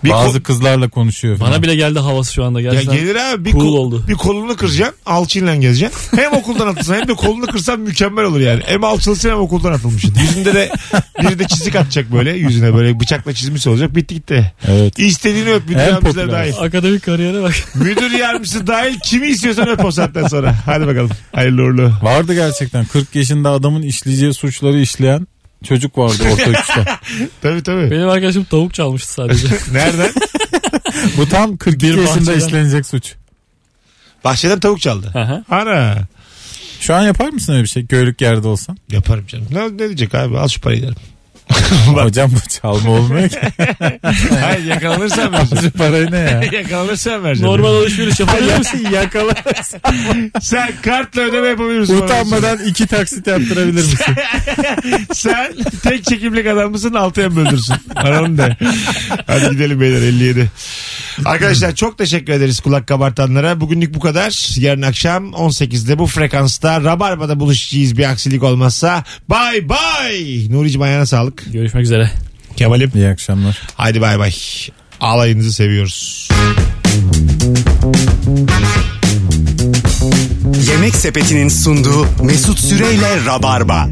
[SPEAKER 2] Bir
[SPEAKER 4] Bazı
[SPEAKER 2] ko-
[SPEAKER 4] kızlarla konuşuyor falan.
[SPEAKER 3] Bana bile geldi havası şu anda.
[SPEAKER 2] ya
[SPEAKER 3] Gerçekten
[SPEAKER 2] gelir abi bir,
[SPEAKER 3] cool
[SPEAKER 2] kol-
[SPEAKER 3] oldu.
[SPEAKER 2] bir kolunu kıracaksın alçıyla gezeceksin. Hem okuldan atılsın hem de kolunu kırsan mükemmel olur yani. Hem alçılsın hem okuldan atılmışsın. Yüzünde de biri de çizik atacak böyle yüzüne böyle bıçakla çizmiş olacak bitti gitti.
[SPEAKER 4] Evet.
[SPEAKER 2] İstediğini öp müdür
[SPEAKER 4] En
[SPEAKER 2] yardımcıları
[SPEAKER 4] popüler.
[SPEAKER 2] dahil.
[SPEAKER 3] Akademik kariyere bak.
[SPEAKER 2] müdür yardımcısı dahil kimi istiyorsan öp o saatten sonra. Hadi bakalım hayırlı uğurlu.
[SPEAKER 4] Vardı gerçekten 40 yaşında adamın işleyeceği suçları işleyen çocuk vardı orta 3'te.
[SPEAKER 2] Tabii tabii.
[SPEAKER 3] Benim arkadaşım tavuk çalmıştı sadece.
[SPEAKER 2] Nereden?
[SPEAKER 4] Bu tam 42
[SPEAKER 3] Bir
[SPEAKER 4] yaşında
[SPEAKER 3] bahçeden.
[SPEAKER 4] işlenecek suç.
[SPEAKER 2] Bahçeden tavuk çaldı.
[SPEAKER 3] Aha.
[SPEAKER 2] Ana.
[SPEAKER 4] Şu an yapar mısın öyle bir şey? Köylük yerde olsan.
[SPEAKER 2] Yaparım canım. Ne, ne diyecek abi al şu parayı derim.
[SPEAKER 4] Hocam bu çalma olmuyor ki.
[SPEAKER 2] Hayır yakalanırsan vereceğim.
[SPEAKER 4] Şu parayı ne ya?
[SPEAKER 2] yakalanırsan vereceğim.
[SPEAKER 3] Normal alışveriş yapabiliyor musun?
[SPEAKER 4] Yakala.
[SPEAKER 2] Sen kartla ödeme yapabilirsin.
[SPEAKER 4] Utanmadan iki taksit yaptırabilir misin?
[SPEAKER 2] Sen tek çekimlik adam mısın altıya mı böldürsün? Aranın de. Hadi gidelim beyler 57. Arkadaşlar çok teşekkür ederiz kulak kabartanlara. Bugünlük bu kadar. Yarın akşam 18'de bu frekansta Rabarba'da buluşacağız bir aksilik olmazsa. Bay bay. Nuri'cim ayağına sağlık.
[SPEAKER 3] Görüşmek üzere.
[SPEAKER 2] Kemal'im.
[SPEAKER 4] İyi akşamlar.
[SPEAKER 2] Hadi bay bay. Alayınızı seviyoruz.
[SPEAKER 1] Yemek Sepeti'nin sunduğu Mesut Süreyle Rabarba.